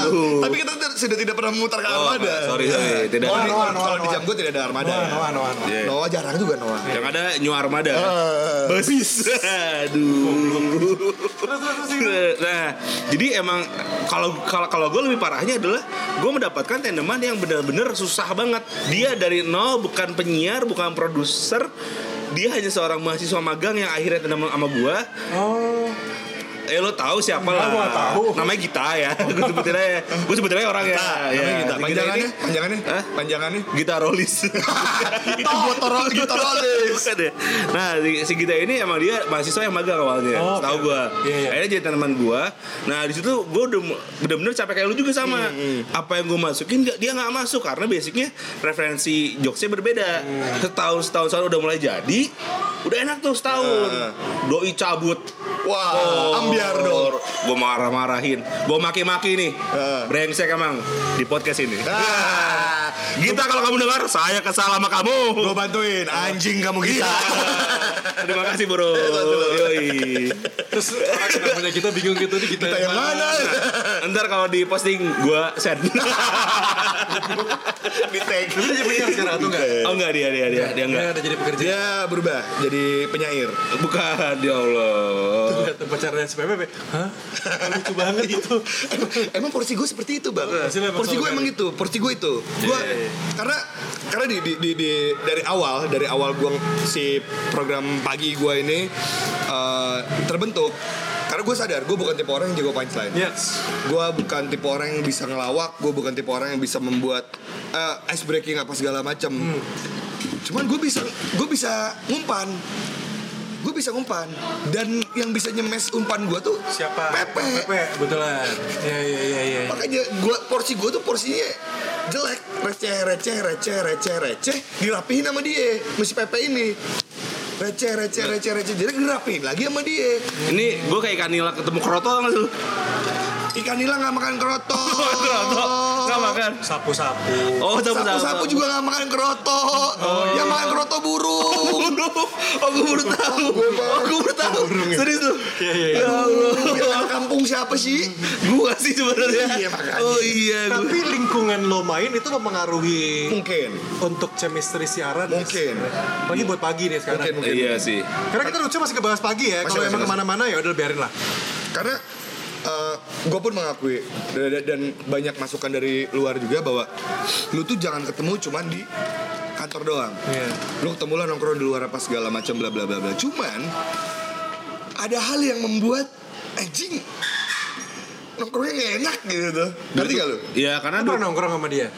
Tapi kita ter- sudah tidak pernah memutar ke Armada
sorry, sorry. Tidak
Kalau
ada.
di-
Noah, Noah,
Kalau di
Noah.
jam gue tidak ada Armada
Noah,
ya.
Noah, Noah. Noah.
Iya.
Noah jarang juga Noah
yang ada New Armada
Eh.
(laughs)
basis aduh
Ah. Terus terus terus.
nah jadi emang kalau kalau kalau gue lebih parahnya adalah gue mendapatkan tandeman yang benar-benar susah banget dia dari nol bukan penyiar bukan produser dia hanya seorang mahasiswa magang yang akhirnya tandeman sama gue
Oh,
eh lo tahu siapa
Enggak,
lah
Nah, gua nggak tahu.
namanya Gita ya gue sebutin aja gue sebutin aja orang ya
Nah, Namanya
Ya.
Gita.
Si
Panjangannya
ini-
Panjangannya
Hah?
Panjangannya
Gita
(laughs)
Rolis
Itu gue taruh Gue taruh
Bukan ya. Nah, si- si Gita ini emang dia mahasiswa yang magang awalnya,
Oh, oke.
tahu gua.
Iya, iya.
Akhirnya jadi teman gua. Nah, di situ gua udah mu- bener-bener capek kayak lu juga sama.
Hmm,
Apa yang gua masukin nggak- dia nggak masuk karena basicnya referensi jokesnya berbeda.
Hmm.
Setahun setahun setahun udah mulai jadi, udah enak tuh setahun.
Ah.
Doi cabut.
Wah
Oh.
Ambiar dong
Gue marah-marahin Gue maki-maki nih
Ah.
Brengsek emang Di podcast ini
Ah,
Gita kalau kamu dengar Saya kesal sama kamu
Gue bantuin Anjing kamu Gita
(laughs) Terima kasih bro. Yoi.
terus orang yang namanya kita bingung gitu nih kita
Kita yang mana
Nah, ntar kalau di posting gua share.
Di tag
Tapi dia jadi penyiar sekarang atau enggak?
oh enggak dia dia dia dia enggak.
Dia ada jadi pekerja.
Dia berubah jadi penyair.
Bukan ya Allah.
Lihat pacarnya si Pepe, hah? Lucu banget itu.
Emang, emang porsi gue seperti itu bang.
Porsi lu emang
Porsi gue
sama
emang gitu. Porsi gue itu. Gue karena karena di, di, di, di- dari awal dari awal gue si program pagi gue ini eh, terbentuk. Karena gue sadar gue bukan tipe orang yang jago punchline.
Yes.
Gue bukan tipe orang yang bisa ngelawak. Gue bukan tipe orang yang bisa membuat eh, ice breaking apa segala macam.
Hmm.
Cuman gue bisa gue bisa ngumpan. Gue bisa ngumpan dan yang bisa nyemes umpan gue tuh
Siapa?
Pepe.
Pepe, betulan. Iya iya iya iya.
Makanya gua porsi gua tuh porsinya jelek, receh, receh, receh, receh, receh, dirapihin sama dia, mesti Pepe ini. Receh, receh, receh, receh, jelek dirapihin lagi sama dia.
Ini gua kayak ikan nila ketemu kroto nggak sih lu?
Ikan nila nggak makan kerotok.
(laughs)
(laughs)
Kroto nggak makan.
Sapu-sapu.
Oh sapu sapu.
Sapu-sapu juga nggak makan kerotok. Yang makan kerotok (laughs) burung.
Oh gua baru tahu. Oh gua baru tahu. Serius lu?
Iya iya.
Ya Allah.
Yang anak kampung siapa sih?
Gua sih sebenarnya.
Iya, makanya.
Oh iya gua.
Tapi lingkungan lo main itu mempengaruhi
Mungkin,
untuk chemistry siaran ya,
Mungkin.
sebenarnya. Apalagi buat pagi nih sekarang.
mungkin, mungkin.
Iya sih.
Karena kita lucu masih kebahas pagi ya.
Masih,
Kalau
masih,
emang
masih.
kemana-mana ya udah biarin lah.
karena gue pun mengakui dan, dan- dan banyak masukan dari luar juga bahwa lu tuh jangan ketemu cuman di kantor doang.
Iya.
Lu ketemu lah nongkrong di luar apa segala macam bla bla bla bla. Cuman ada hal yang membuat anjing nongkrongnya gak enak gitu tuh. Ngerti gak lu?
Iya karena
Lu
du-
pernah nongkrong sama dia?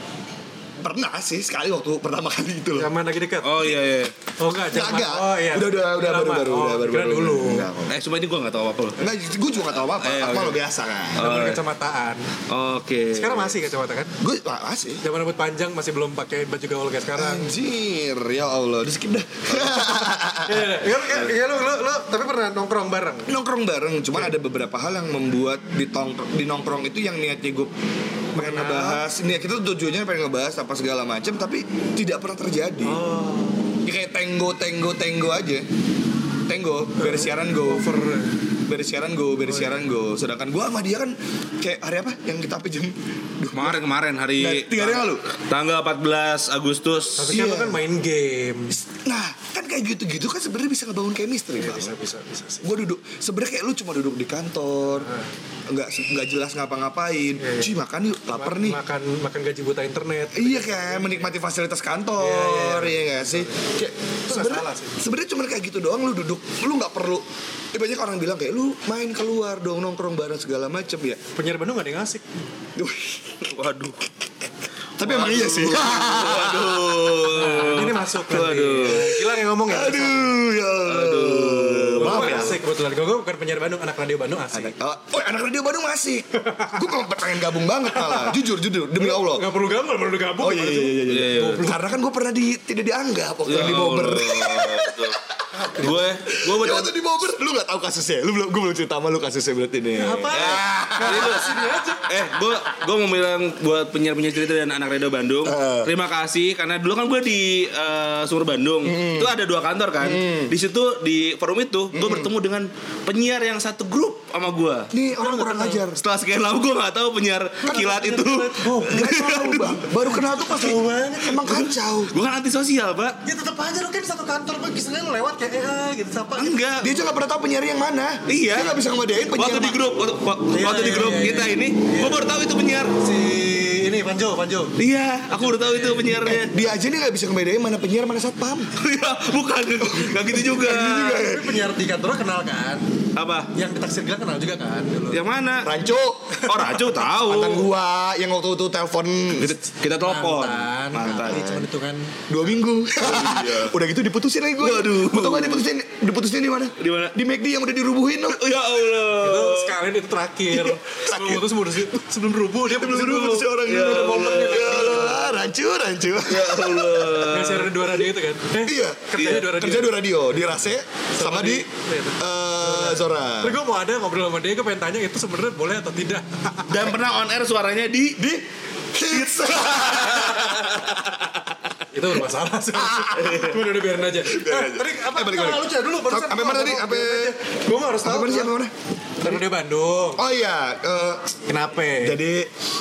Pernah sih sekali waktu pertama kali itu loh.
Zaman lagi dekat?
Oh iya iya.
Oh enggak,
Enggak,
zaman.
enggak.
Oh iya.
Udah, udah, udah,
Lama.
baru, baru,
Oh,
udah, baru,
kira
baru.
dulu. Ah, iya,
Enggak, kok.
Eh cuma ini gua nggak tahu apa-apa.
Enggak, gue juga gak tau apa-apa.
Eh,
Aku
oke.
lo biasa kan.
Zaman kacamataan.
Iya.
Oke.
Sekarang masih kacamata kan?
Gue masih.
Zaman rambut panjang masih belum pakai baju gaul kayak sekarang.
Anjir, ya Allah, di
(laughs)
skip dah.
Iya, iya, iya. Iya, iya, lu, lu, lu, tapi pernah nongkrong bareng?
nongkrong bareng cuman ada beberapa hal yang membuat di, tongkrong- di nongkrong itu yang niatnya gue pengen ngebahas niat kita tuh tujuannya pengen ngebahas apa segala macam tapi tidak pernah
Oh,
terjadi Ya kayak tenggo tenggo tenggo aja tenggo beres siaran go
Over. Oh, iya.
beres siaran go beres siaran go sedangkan gue sama dia kan kayak hari apa yang kita apa jam 12
Kemarin kemarin hari
Nah, tiga hari yang lalu.
Tanggal 14 Agustus.
Harusnya lo
Iya.
kan main game.
Nah, kan kayak gitu-gitu kan sebenarnya bisa ngebangun chemistry, Bang.
Iya, Bisa bisa bisa sih.
Gue duduk, sebenarnya kayak lu cuma duduk di kantor, nggak nggak jelas ngapa-ngapain.
Iya, iya.
Cuy makan yuk, lapar nih.
Makan makan gaji buta internet.
Iya kan, menikmati fasilitas kantor,
Iya,
iya nggak sih? Kayak
nggak
sebenarnya
salah sih.
sebenarnya cuma kayak gitu doang lu duduk, lu nggak perlu. Eh, banyak orang bilang kayak lu main keluar dong nongkrong bareng segala macem ya.
Penyiar Bandung gak ada yang asik.
Waduh.
Tapi emang iya sih. (laughs)
Waduh.
Eh,
Ini masuk nanti.
Aduh.
Gila yang ngomong ya.
Aduh, ya Allah. Aduh.
Gue
Maaf
bukan
ya.
asik kebetulan. Gue bukan penyiar Bandung, anak radio Bandung asik.
Oh, oh, anak radio Bandung masih. gue kalau pengen gabung banget malah. Jujur, jujur demi Allah.
Gak perlu gabung, gak perlu gabung.
Oh iya iya iya. iya.
Iya, iya.
Karena kan gue pernah di, tidak dianggap waktu
Ya
yang di Bobber.
Allah, betul. Gue gue
Ya,
betul.
waktu di Bobber, lu gak tahu kasusnya. Lu belum gue belum cerita sama lu kasusnya berarti nih.
Apa?
Jadi lu- Eh, gue gue mau bilang buat penyiar-penyiar cerita dan anak radio Bandung,
Eh.
terima kasih karena dulu kan gue di eh, Sumur Bandung,
Hmm.
itu ada dua kantor kan. Di situ di forum itu gue bertemu dengan penyiar yang satu grup sama gue.
Nih orang kurang ajar.
Setelah sekian lama gue nggak tahu penyiar
Kan
kilat itu.
Oh, gak tahu bang. Baru kenal tuh pas
Tahu banget.
Emang kacau.
Gue kan antisosial pak.
Ya tetap aja lu kan satu kantor pagi Senin lewat kayak eh, eh gitu siapa gitu.
Enggak.
Dia aja gak pernah tahu penyiar yang mana.
Iya.
Dia gak bisa ngebedain penyiar.
Waktu di
mana.
grup, waktu, waktu di
iya,
grup
iya,
kita ini, gue baru tahu itu penyiar.
si ini Panjo, Panjo.
Iya, aku udah tahu itu penyiarnya. (laughs)
Dia aja nih gak bisa ngebedain mana penyiar mana satpam.
Iya, bukan, nggak gitu juga.
Iya,
Tapi penyiar di kantor lo kenal kan?
Apa?
Yang ditaksir gila kenal juga kan dulu.
Iya,
Yang mana?
Rancu. Gitu.
Oh Rajo tahu.
Mantan gua yang waktu itu telepon
Kita, kita telepon.
Mantan, mantan. Cuma itu kan
dua minggu. Udah gitu diputusin lagi gua.
Waduh.
Betul gak diputusin? Diputusin di mana?
Di mana?
Di McD yang udah dirubuhin dong.
Ya
Oh.
itu
Allah.
sekalian itu terakhir.
Iya,
Sebelum putus sebelum sebelum rubuh dia Iya, putus
Belum
dulu.
diputusin orang
Ya
dulu.
Allah.
kan?
Ya Allah, rancu, rancu.
Ya Allah.
Yang siaran di dua radio itu kan? Eh,
(laughs) Iya.
Kerjanya dua radio.
Kerja dua radio di Rase sama di eh, Zora.
Terus gue mau ada ngobrol sama dia, gue pengen tanya itu sebenarnya boleh atau
(laughs)
tidak?
Dan pernah on air suaranya di di
Hits.
itu bermasalah sih. Cuma udah biarin aja.
Iya.
Eh,
Biarin aja.
Tadi apa?
Eh, balik, balik.
Ah, Lu cerita dulu.
Sampai- sampai mana tadi? Sampai-
Gue gak harus tahu.
Apa mana sih? Apa mana?
Karena dia Bandung.
Oh iya, eh,
Kenapa?
jadi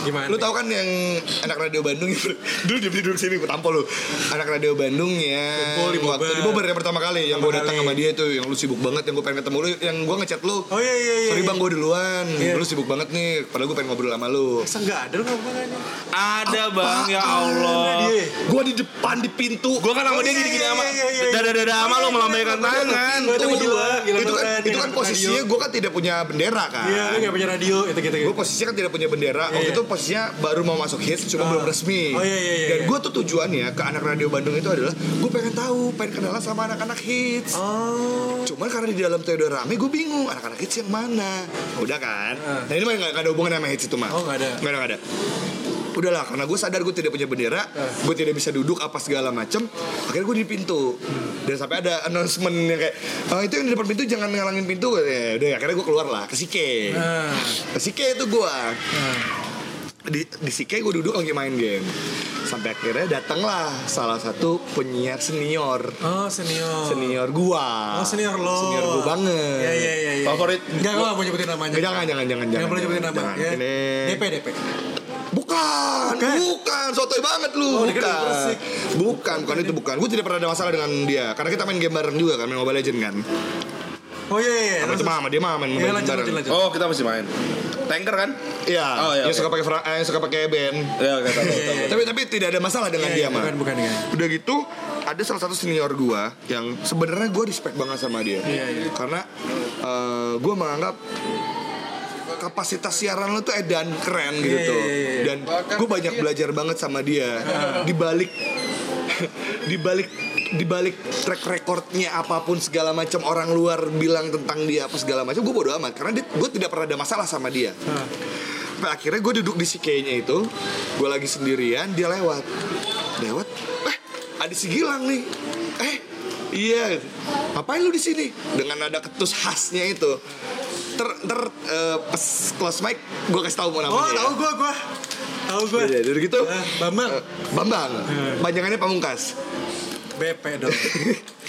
Gimana?
Lu tahu kan yang anak radio Bandung yang (laughs) dulu dia duduk sini gue tampol lu. Anak radio Bandung ya.
Kumpul di Bogor.
Waktu di Bogor yang pertama kali yang gue
Pertama
datang
kali.
sama dia itu yang lu sibuk banget yang gue pengen ketemu lu yang gue ngechat lu.
Oh iya iya iya.
Sorry bang gue duluan,
Iya.
lu sibuk banget nih. Padahal gue pengen ngobrol sama lu.
Masa nggak ada lu ngomongannya?
ada bang ya Allah.
Dia.
Gue Iya, di depan di pintu.
Gue kan sama
Oh,
dia
iya,
gini-gini
iya,
sama
iya, iya, iya.
dada-dada sama lo melambaikan tangan.
Gua tuh gila, gila
itu Iya, kan,
beneran,
itu
ya,
kan
radio.
posisinya gue kan tidak punya bendera kan.
Iya, lu nggak punya radio itu gitu gitu.
Gue posisinya kan tidak punya bendera. Waktu
Iya.
itu posisinya baru mau masuk hits, cuma
Ah.
belum resmi.
Oh, iya, iya, iya,
Dan
iya.
gue tuh tujuannya ke anak radio Bandung itu adalah gue pengen tahu, pengen kenalan sama anak-anak hits.
Oh.
Cuman karena di dalam tuh udah rame, gue bingung anak-anak hits yang mana. Udah kan?
Ah.
Nah ini mah nggak nggak ada hubungan sama hits itu mah.
Oh, nggak ada.
Nggak ada nggak ada. Udahlah, karena gue sadar gue tidak punya bendera,
Ah.
gue tidak bisa duduk apa segala macem. Akhirnya gue di pintu. Dan sampai ada announcement yang kayak, "Ah, itu yang di depan pintu jangan ngalangin pintu. Ya, udah, akhirnya gue keluar lah ke Sike.
Nah,
Ke Sike itu gue
ah.
di, di Sike gue duduk lagi main game sampai akhirnya datanglah salah satu penyiar senior
oh senior.
senior gua
Oh senior lo.
senior gua banget
Iya iya iya. iya.
Favorit.
Enggak gua nggak mau nyebutin namanya.
Nggak, jangan jangan jangan jangan
Nggak boleh nyebutin nama.
jangan.
ya.
Ini-
DP DP.
bukan bukan sotoy banget
Oh,
lu
dikira
bukan
Persik.
bukan bukan itu bukan gue tidak pernah ada masalah dengan dia karena kita main game bareng juga kan main Mobile Legend kan
Oh iya iya.
sama
terus-
itu mama dia mah main
Iya
Mobile Legend
lanjut
bareng
lanjut lanjut.
Oh kita masih main. Tanker kan?
iya
Oh, iya,
yang
oke.
suka pakai fra- eh, yang suka pakai band
Ya kita tahu. tahu.
tapi tapi tidak ada masalah dengan
Iya,
dia mah
Bukan bukan bukan.
udah gitu ada salah satu senior gua yang sebenarnya gua respect banget sama dia
Iya, iya.
karena eh, gua menganggap kapasitas siaran lo tuh edan keren gitu
Iya,
tuh
iya, iya, iya.
dan gua banyak belajar banget sama dia di balik (laughs) di balik di balik track recordnya apapun segala macam orang luar bilang tentang dia apa segala macam gue bodo amat karena dia, gue tidak pernah ada masalah sama dia Sampai akhirnya gue duduk di sikenya itu Gue lagi sendirian, dia lewat Lewat, eh ada si Gilang nih Eh, iya Ngapain lu di sini? Dengan ada ketus khasnya itu Ter, ter eh, pas close mic gue kasih tau mau namanya
Oh
ya.
tahu gua gua. Tahu gua.
Iya, dari gitu.
Eh, Bambang. Eh.
Eh, Bambang, panjangannya pamungkas
BP dong.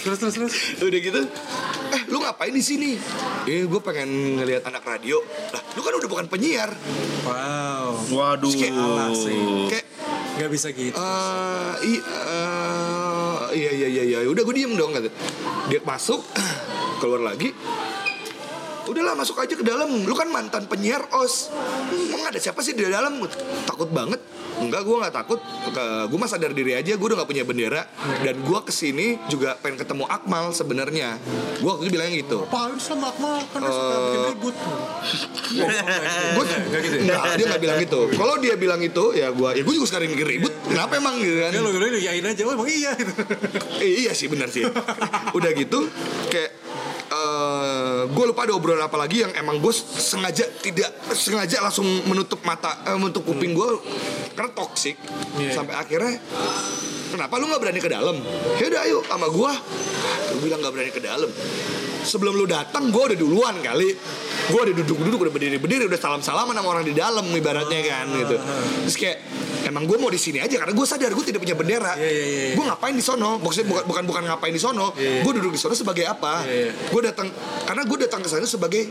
terus terus terus.
udah gitu eh lu ngapain di sini eh gue pengen ngelihat anak radio lah lu kan udah bukan penyiar
Wow.
Waduh.
Terus kayak
alas sih.
kayak
Gak bisa gitu.
eh i- eh, iya iya iya iya udah gue diem dong kata dia masuk (clears throat) keluar lagi udahlah masuk aja ke dalam lu kan mantan penyiar os emang ada siapa sih di dalam takut banget enggak gue nggak takut gue mah sadar diri aja gue udah nggak punya bendera dan gue kesini juga pengen ketemu Akmal sebenarnya gue waktu itu bilang gitu
Apaan sama Akmal? Kan dia suka bikin ribut.
gue
Gak gitu ya?
nggak dia nggak bilang gitu kalau dia bilang itu ya gue ya gue juga sekarang bikin ribut kenapa emang gitu kan
Ya lo lo yain aja, oh emang iya gitu.
Eh, iya sih benar sih. Udah gitu kayak gue lupa ada obrolan apa lagi yang emang gue sengaja tidak sengaja langsung menutup mata eh, menutup kuping gue karena toksik
Iya.
sampai akhirnya kenapa lu nggak berani ke dalam ya udah ayo sama gue lu bilang nggak berani ke dalam sebelum lu datang gue udah duluan kali gue udah duduk-duduk udah berdiri-berdiri udah salam-salaman sama orang di dalam ibaratnya kan gitu
Ah.
terus kayak emang gue mau di sini aja karena gue sadar gue tidak punya bendera
Iya, iya, iya.
gue ngapain di sono maksudnya bukan bukan bukan ngapain di sono
Iya, iya.
gue duduk di sono sebagai apa
Iya, iya.
gue datang karena gue datang ke sana sebagai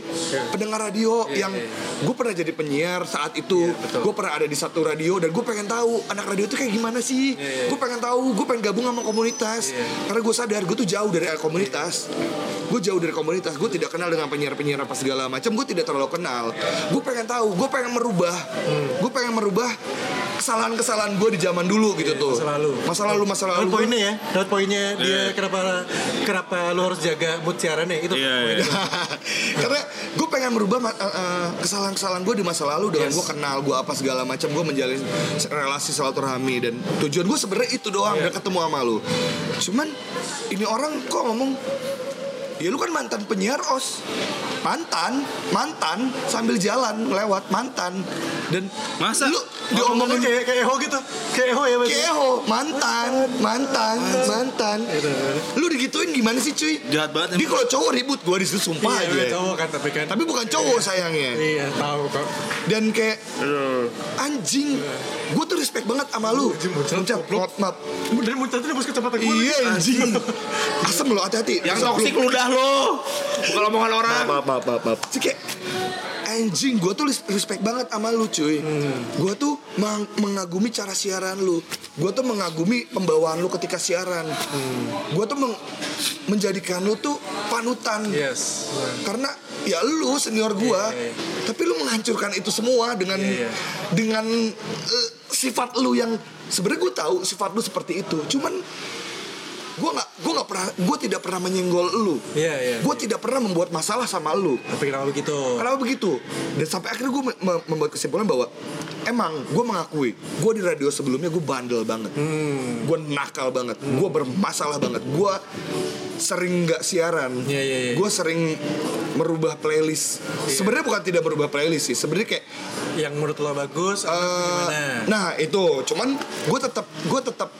pendengar radio
Iya,
yang
iya.
gue pernah jadi penyiar saat itu
Iya, betul.
gue pernah ada di satu radio dan gue pengen tahu anak radio itu kayak gimana
Iya,
sih
iya.
gue pengen tahu gue pengen gabung sama komunitas
Iya.
karena gue sadar gue tuh jauh dari eh, komunitas gue jauh dari komunitas gue tidak kenal dengan penyiar-penyiar apa segala macam gue tidak terlalu kenal gue pengen tahu gue pengen merubah
Hmm.
gue pengen merubah kesalahan-kesalahan gue di zaman dulu gitu tuh
Iya, masa lalu.
masa lalu masa lalu
Dapat
gua-
poinnya ya, dapat poinnya dia
Iya.
kenapa kenapa lo harus jaga mood ya, gitu. siarannya itu.
Iya, iya.
(laughs) karena gue pengen merubah ma- eh, eh, kesalahan-kesalahan gue di masa lalu dengan
Yes.
gue kenal gue apa segala macam gue menjalin se- relasi silaturahmi dan tujuan gue sebenarnya itu doang udah ketemu sama lu cuman ini orang kok ngomong ya lu kan mantan penyiar os mantan mantan sambil jalan lewat mantan dan
Masa?
lu
Diomongin
diomongin
kayak kayak Eho gitu. Kayak Eho ya berarti.
keho mantan mantan mantan
Gitu.
lu digituin gimana sih cuy
Jahat banget
dia
emang.
kalau cowok ribut gue disitu sumpah
Iya,
aja
dia cowok kan tapi kan.
tapi bukan cowok sayangnya
Iya, tahu kok.
dan kayak anjing gue tuh respect banget sama lu
Anjing, muncrat,
Muncrat,
goblok.
maaf, maaf.
Dari muncrat itu bos kecepatan gue.
iya anjing asem lo hati-hati
Yang
Asem
toksik
lu.
ludah lo. Bukan omongan orang.
maaf maaf maaf maaf Terus kayak anjing gue tuh res- respect banget sama lu cuy
Hmm.
gue tuh meng- mengagumi cara siaran lu gue tuh mengagumi pembawaan lu ketika siaran
Hmm.
gue tuh meng- menjadikan lu tuh panutan
Yes.
karena ya lu senior gua
Iya, iya,
tapi lu menghancurkan itu semua dengan
Iya, iya.
dengan eh, sifat lu yang sebenarnya gua tahu sifat lu seperti itu cuman gua nggak gua nggak pernah gua tidak pernah menyenggol lu
Iya, iya.
gua tidak pernah membuat masalah sama lu
Tapi kenapa begitu?
Kenapa begitu? Dan sampai akhirnya gue membuat kesimpulan bahwa emang gue mengakui gue di radio sebelumnya gue bandel banget,
Hmm.
gue nakal banget, gue bermasalah banget, gue sering nggak siaran,
Iya, iya, iya.
gue sering merubah playlist. Sebenarnya bukan tidak merubah playlist sih, sebenarnya kayak
Yang menurut lo bagus atau
Eh,
gimana?
nah itu cuman gue tetap gue tetap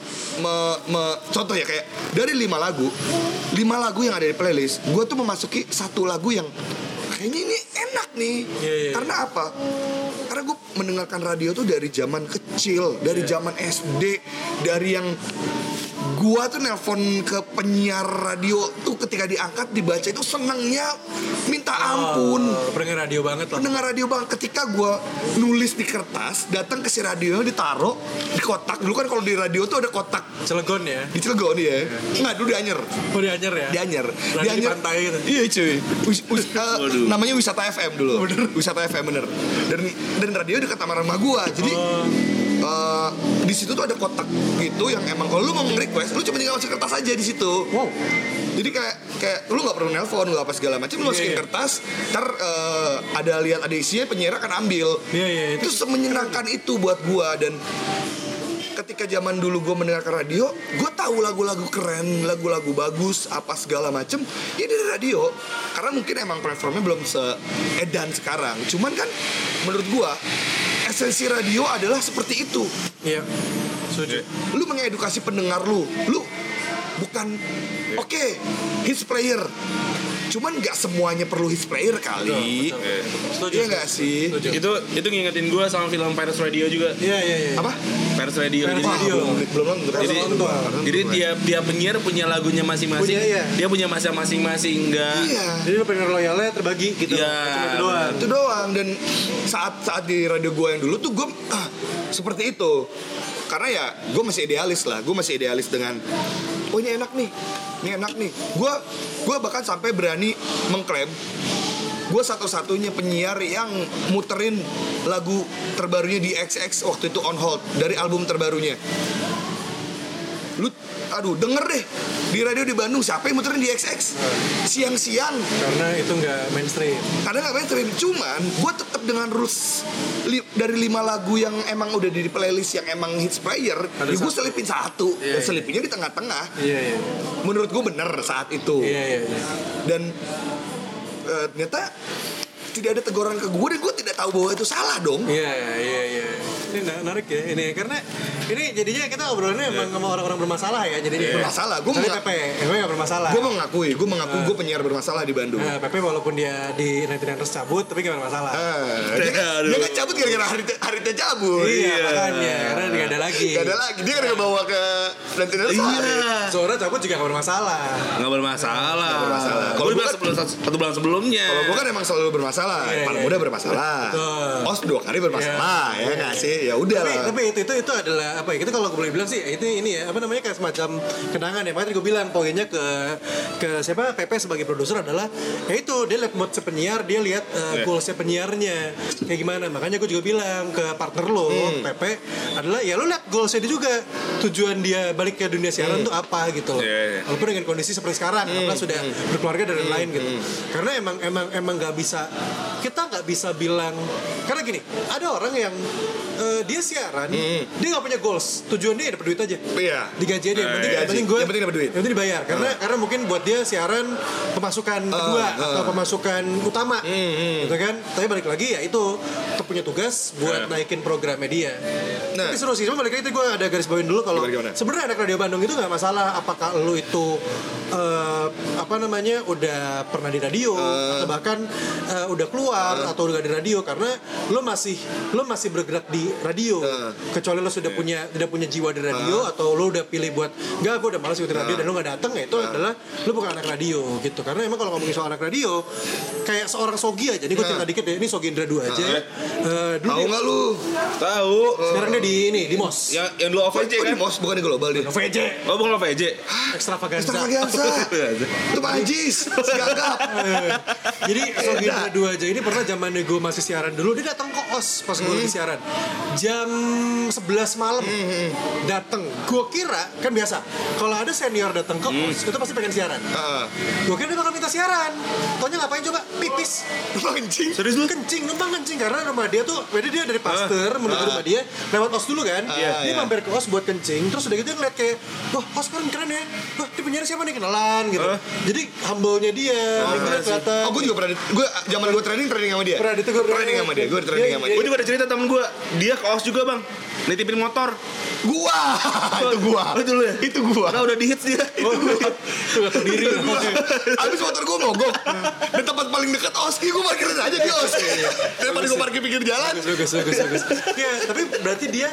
me- me- contoh ya kayak dari lima lagu lima lagu yang ada di playlist gue tuh memasuki satu lagu yang kayaknya ini enak nih
Iya, iya.
karena apa karena gue mendengarkan radio tuh dari zaman kecil dari
Iya.
zaman SD dari yang gua tuh nelpon ke penyiar radio tuh ketika diangkat dibaca itu senangnya minta ampun
Oh, pendengar radio banget lah.
pendengar radio bang ketika gue nulis di kertas datang ke si radio ditaruh di kotak dulu kan kalau di radio tuh ada kotak
Cilegon ya.
di Cilegon ya nggak dulu di Anyer
Oh, di Anyer ya.
di Anyer
Radio di pantai gitu.
iya cuy Wis- wis- eh,
Waduh.
namanya wisata FM dulu wisata FM bener dan dan radio dekat kamar rumah gue jadi
Oh.
eh, di situ tuh ada kotak gitu yang emang kalau lu mau request lu cuma tinggal masukin kertas aja di situ
Wow.
jadi kayak kayak lu nggak perlu nelpon nggak apa segala macam lu
Iya,
masukin
iya.
kertas ter eh, ada lihat ada isinya penyiar akan ambil
Iya, iya, itu.
itu semenyenangkan itu buat gua dan ketika zaman dulu gua mendengarkan radio gua tahu lagu-lagu keren lagu-lagu bagus apa segala macem ya dari radio karena mungkin emang platformnya belum seedan sekarang cuman kan menurut gua esensi radio adalah seperti itu
Iya. Setuju.
lu mengedukasi pendengar lu lu bukan oke hits player Cuman nggak semuanya perlu his player kali.
Setuju.
Iya nggak sih?
Setuju.
itu itu ngingetin gue sama film Paris Radio juga
Iya iya iya.
Apa?
Paris Radio
Paris
jadi
Radio.
belum belum nonton.
jadi,
Belum nonton.
jadi tiap tiap penyiar punya lagunya masing-masing
Punya, iya.
dia punya masa masing-masing enggak
Iya.
Jadi lu pengen loyalnya terbagi gitu.
Iya,
Cuma itu doang.
itu doang dan saat saat di radio gue yang dulu tuh gue ah, seperti itu karena ya gue masih idealis lah gue masih idealis dengan oh ini enak nih ini enak nih gue gue bahkan sampai berani mengklaim gue satu-satunya penyiar yang muterin lagu terbarunya di XX waktu itu on hold dari album terbarunya lu aduh denger deh di radio di Bandung siapa yang muterin di XX siang-siang
Karena itu nggak mainstream.
kadang nggak mainstream cuman gue tetap dengan rules li- dari lima lagu yang emang udah di playlist yang emang hits player
Ada
gue
satu.
selipin satu
Iya,
dan
iya.
selipinnya di tengah-tengah
Iya iya.
menurut gue bener saat itu
Iya iya. iya.
dan eh, ternyata tidak ada teguran ke gue dan gue tidak tahu bahwa itu salah dong
Iya iya iya. Ini menarik ya ini karena ini jadinya kita obrolannya emang sama orang-orang bermasalah ya jadinya.
Bermasalah. Gua
Tapi
nggak-
Pepe, Pepe nggak bermasalah.
gue mengakui gue mengakui gue penyiar bermasalah di Bandung
Nah, Pepe walaupun dia di 99ers cabut tapi gak bermasalah.
Eh, dia, kan- dia kan cabut gara-gara hari hari dia cabut
iya, makanya karena nggak ada lagi. Iya.
Gak Oh, ada lagi dia gara-gara bawa ke dan tidak
Suara cabut juga gak bermasalah.
nggak bermasalah
bermasalah.
Gua
Kalau
bilang
bukan-
sebelum satu bulan sebelumnya
Kalau gue kan emang selalu bermasalah,
Iya,
paling
iya.
muda bermasalah,
Betul. Iya.
os dua kali bermasalah, ya nggak sih? Ya udah
Tapi,
lah.
tapi itu, itu itu adalah apa ya? Kita kalau gue boleh bilang sih itu ini ya apa namanya kayak semacam kenangan ya. Makanya tadi gue bilang poinnya ke ke siapa Pepe sebagai produser adalah ya itu dia lihat mood si penyiar, dia lihat uh,
Iya.
goalsnya penyiarnya kayak gimana. Makanya gue juga bilang ke partner lo
Hmm.
Pepe adalah ya lo lihat goalsnya dia juga tujuan dia balik ke dunia siaran tuh apa gitu loh.
Hmm. Iya, iya.
Walaupun dengan kondisi seperti sekarang,
Hmm,
apalagi sudah berkeluarga dan lain-lain gitu. Karena emang emang emang nggak bisa kita nggak bisa bilang karena gini ada orang yang eh, dia siaran
Hmm,
dia nggak punya goals tujuan dia dapat duit aja
Iya.
digaji aja yang penting
Digaji.
yang penting gue
iya, Yang penting dapat duit. Ah.
yang penting dibayar karena karena mungkin buat dia siaran pemasukan kedua atau pemasukan utama
Hmm,
gitu kan tapi balik lagi ya itu kita punya tugas buat naikin programnya dia
Ah. Nah.
nah. tapi seru sih cuma balik lagi tadi gue ada garis bawain dulu kalau
Gimana, gimana?
sebenarnya anak radio Bandung itu nggak masalah apakah lu itu eh, apa namanya udah pernah di radio atau bahkan eh, udah keluar atau udah di radio karena lu masih lu masih bergerak di radio
Eh.
kecuali lu sudah punya tidak punya jiwa di radio atau lu udah pilih buat nggak gue udah malas ikutin radio dan lu nggak datang ya itu adalah lu bukan anak radio gitu karena emang kalau ngomongin soal anak radio kayak seorang Sogi aja ini gue cerita dikit ya ini Sogi Indra 2 aja Eh, dulu
Tahu
dia-
nggak lu?
tahu
sekarang dia di ini di MOS
yang yang dulu
Apa
OVJ
di
kan
mos bukan di global dia.
VJ
oh bukan OVJ
ekstravaganza (laughs)
Extravaganza,
Iya,
itu Pak Ajis, si gagap.
Jadi Sogi Indra dua aja ini pernah zaman gue masih siaran dulu dia datang ke os pas gue lagi siaran jam 11 malam datang gue kira kan biasa kalau ada senior datang ke os itu pasti pengen siaran
Ah,
gue kira dia bakal minta siaran Taunya ngapain coba pipis
Anjing.
serius lu
kencing numpang kencing karena rumah dia tuh jadi dia dari pasteur menuju rumah dia lewat os dulu kan
Ah,
dia
iya.
mampir ke os buat kencing terus udah gitu dia ngeliat kayak wah os keren keren ya wah di penyiar siapa nih kenalan gitu
Ah.
jadi humble nya dia lingkungan kelihatan
Oh, gue juga pernah, gue zaman gue training training sama dia.
Pernah ditegur, pernah
training sama dia, gue
ditegur.
training
Iya,
sama
iya.
dia.
gue juga ada cerita temen gue dia ke OS juga bang nitipin motor
Gua, (laughs) itu
Oh,
gua,
itu lu ya?
itu
(laughs)
gua.
karena udah dihits dia (laughs)
Oh, itu gak sendiri
Abis motor gue mogok Dan tempat paling dekat oski gue parkirin aja di
Iya,
oski Daripada gue parkir pinggir jalan
bagus bagus bagus ya tapi berarti dia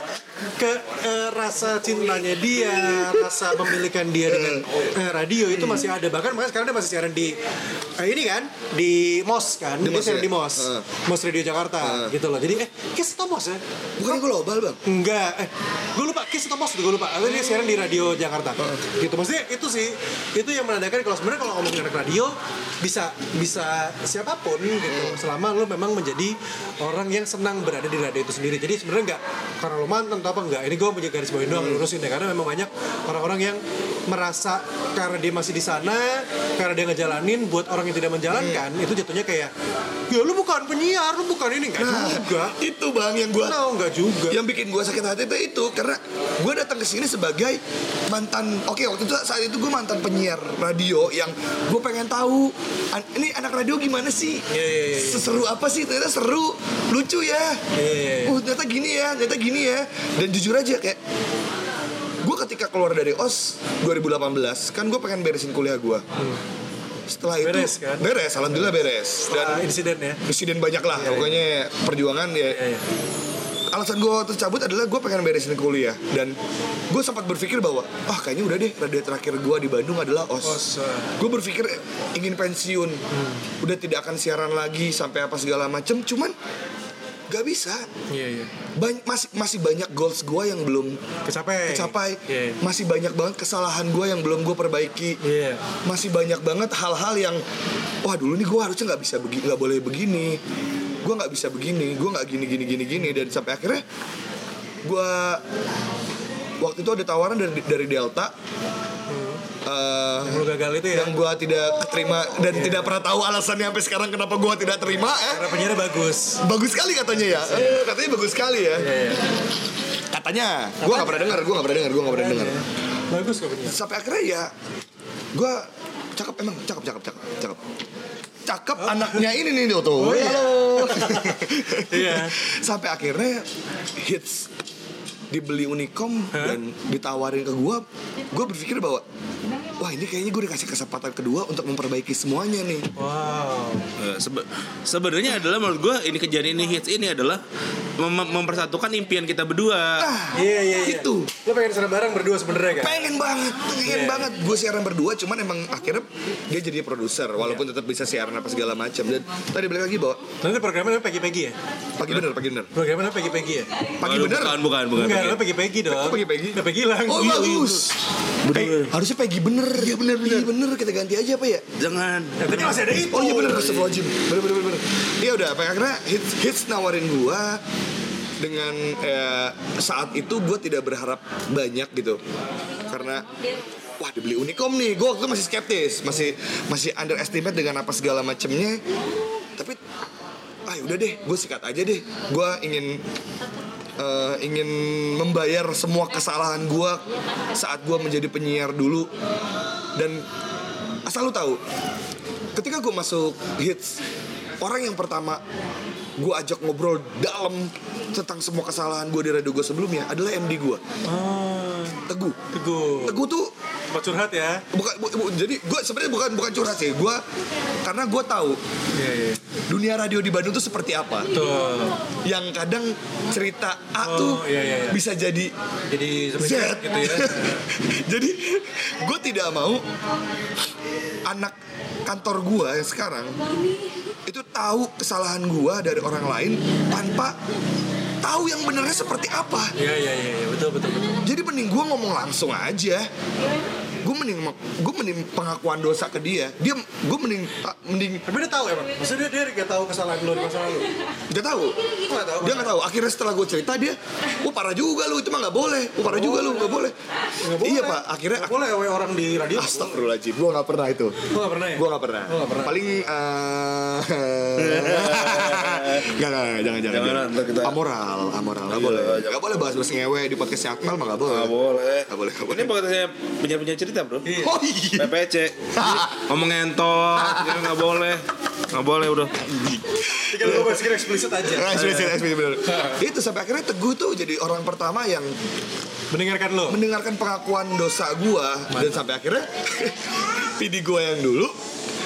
ke eh, rasa cintanya dia rasa memilikan dia dengan eh, radio itu masih ada bahkan makanya sekarang dia masih siaran di eh, ini kan di mos kan dia
Mos
siaran
ya?
di mos
Eh.
mos radio jakarta gitu loh jadi eh kiss atau mos ya
Bukan global bang
Enggak, eh, gue lupa, Kiss atau Mos gitu, gue lupa Atau dia siaran di radio Jakarta Gitu, maksudnya itu sih Itu yang menandakan kalau sebenarnya kalau ngomongin anak radio Bisa, bisa siapapun gitu Selama lo memang menjadi orang yang senang berada di radio itu sendiri Jadi sebenarnya enggak, karena lo mantan atau apa enggak Ini gue punya garis bawain doang lurusin ya Karena memang banyak orang-orang yang merasa Karena dia masih di sana, karena dia ngejalanin Buat orang yang tidak menjalankan, itu jatuhnya kayak Ya lu bukan penyiar, lu bukan ini Enggak juga
Nah,
Nah.
Itu bang yang gue
No, enggak juga
yang bikin gue sakit hati itu itu karena gue datang ke sini sebagai mantan oke waktu itu saat itu gue mantan penyiar radio yang gue pengen tahu an- ini anak radio gimana sih
iya, iya.
seseru apa sih ternyata seru lucu ya
iya, iya.
oh ternyata gini ya ternyata gini ya dan jujur aja kayak gue ketika keluar dari os 2018 kan gue pengen beresin kuliah gue setelah itu
Hmm. Beres, kan?
beres alhamdulillah beres dan
Setelah insiden ya.
insiden banyak lah
Iya, iya.
pokoknya perjuangan ya
Iya, iya.
alasan gue tercabut adalah gue pengen beresin kuliah dan gue sempat berpikir bahwa ah kayaknya udah deh radio terakhir gue di Bandung adalah os,
Os, eh. Hmm.
gue berpikir eh, ingin pensiun udah tidak akan siaran lagi sampai apa segala macem cuman gak bisa
Iya, iya.
Bany- masih masih banyak goals gue yang belum
Kecapai.
tercapai
Iya.
masih banyak banget kesalahan gue yang belum gue perbaiki
Iya.
masih banyak banget hal-hal yang wah dulu nih gue harusnya nggak bisa begini nggak boleh begini gue nggak bisa begini gue nggak gini gini gini gini dan sampai akhirnya gue waktu itu ada tawaran dari dari Delta eh,
Yang lu gagal itu ya.
yang gue tidak terima dan tidak pernah tahu alasannya sampai sekarang kenapa gue tidak terima eh
Karena penyiarnya bagus.
bagus sekali katanya ya Eh, katanya bagus sekali ya
Iya, iya.
katanya gue nggak pernah dengar gue nggak pernah dengar gue nggak pernah dengar
Iya. Bagus kok penyiar.
sampai akhirnya ya gue cakep emang cakep cakep cakep cakep cakep anaknya ini nih tuh tuh
Oh, iya.
halo
(laughs) Iya.
sampai akhirnya hits dibeli Unicom
Hah?
dan ditawarin ke gue gue berpikir bahwa wah ini kayaknya gue dikasih kesempatan kedua untuk memperbaiki semuanya nih
Wow.
Eh, sebe- sebenarnya adalah menurut gue ini kejadian ini hits ini adalah mem- mempersatukan impian kita berdua.
ah
Iya, iya, iya.
itu
Lo pengen serang bareng berdua sebenarnya kan?
pengen banget pengen
Iya.
banget gue siaran berdua cuman emang akhirnya dia jadi produser
Iya.
walaupun tetap bisa siaran apa segala macam dan tadi balik lagi bahwa
Nanti programnya namanya pagi-pagi ya?
pagi bener pagi bener
Programnya namanya pagi-pagi ya?
pagi
Waduh,
bener
Bukan, bukan, bukan.
Enggak, lo
bukan.
pagi-pagi dong.
Kok pagi-pagi?
Udah pagi hilang.
Oh
Iya,
bagus. Eh, harusnya Peggy bener. Iya bener bener. bener kita ganti aja apa ya?
Jangan.
iya. Tapi masih ada itu.
Oh iya bener Astagfirullahaladzim Bener bener bener, bener Iya udah apa akhirnya hits, hits nawarin gua dengan eh, saat itu gua tidak berharap banyak gitu karena wah dibeli Unicom nih gua waktu itu masih skeptis masih masih underestimate dengan apa segala macemnya tapi ah udah deh gue sikat aja deh gua ingin eh, ingin membayar semua kesalahan gua saat gua menjadi penyiar dulu dan asal lu tahu ketika gue masuk hits orang yang pertama gue ajak ngobrol dalam tentang semua kesalahan gue di radio gue sebelumnya adalah MD gue
Oh,
Teguh
teguh.
Teguh tuh
Tempat curhat ya?
bukan bu- bu- jadi gue sebenarnya bukan bukan curhat sih gue karena gue tahu
Iya, iya.
dunia radio di Bandung tuh seperti apa
Tuh.
yang kadang cerita A
Oh,
tuh
iya, iya, iya.
bisa jadi
Jadi seperti
Z
gitu ya.
(laughs) jadi gue tidak mau anak kantor gue yang sekarang itu tahu kesalahan gue dari orang lain tanpa tahu yang benernya seperti apa.
Iya, iya, iya. iya. Betul, betul, betul.
Jadi mending gue ngomong langsung aja. Gue mending gue mending pengakuan dosa ke dia. Dia gue mending ah, mending
Tapi dia tahu emang. Maksudnya dia dia nggak tahu kesalahan lo di masa lalu.
Gak tahu.
Nggak tahu.
Dia nggak tahu. Akhirnya setelah gue cerita dia, wah parah juga lu itu mah nggak boleh. Wah parah juga lu nggak boleh.
Nggak boleh.
Iya pak. Akhirnya
Nggak boleh oleh orang di radio.
Astagfirullahaladzim, gue gak pernah itu
Lo nggak pernah ya?
Gue gak pernah.
Lu nggak pernah.
Paling eh Gak, gak, gak, jangan, jangan,
Jangan,
jangan.
ntar kita-
Amoral, amoral, gak
Iya,
boleh
jangan.
Gak boleh bahas-bahas ngewe di podcastnya Akmal mah gak boleh
Gak boleh.
Nggak boleh, nggak boleh.
Ini podcastnya penyiar-penyiar cerita bro.
Iya.
Oh iya
PPC.
(laughs)
Ngomong ngentot. gitu, Nggak boleh. Nggak boleh udah.
Tinggal gue masukin eksplisit aja.
Nah, sudah, sudah, sudah, bener. Itu sampai akhirnya Teguh tuh jadi orang pertama yang
Mendengarkan lo.
mendengarkan pengakuan dosa gua Dan sampai akhirnya (laughs) Pidi gua yang dulu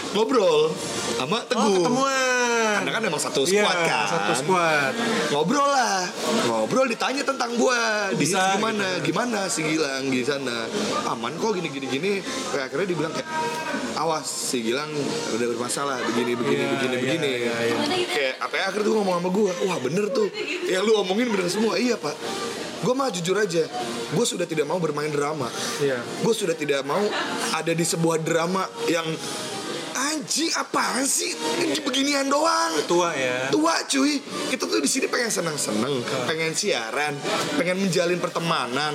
Ngobrol sama
Oh,
Teguh
ketemuan.
Karena kan emang satu
Iya,
squad kan
satu squad.
ngobrol lah ngobrol ditanya tentang gua di
Bisa,
sini gimana gimana si Gilang di sana aman kok gini gini gini kayak akhirnya dibilang kayak awas si Gilang udah bermasalah begini begini
Iya,
begini
iya,
begini
iya, iya.
kayak apa ya akhirnya tuh ngomong sama gua wah bener tuh yang lu omongin bener semua iya pak gua mah jujur aja gua sudah tidak mau bermain drama
Iya.
gue sudah tidak mau ada di sebuah drama yang anjing apaan sih Ini beginian doang
Tua ya.
tua cuy kita tuh di sini pengen senang senang pengen siaran pengen menjalin pertemanan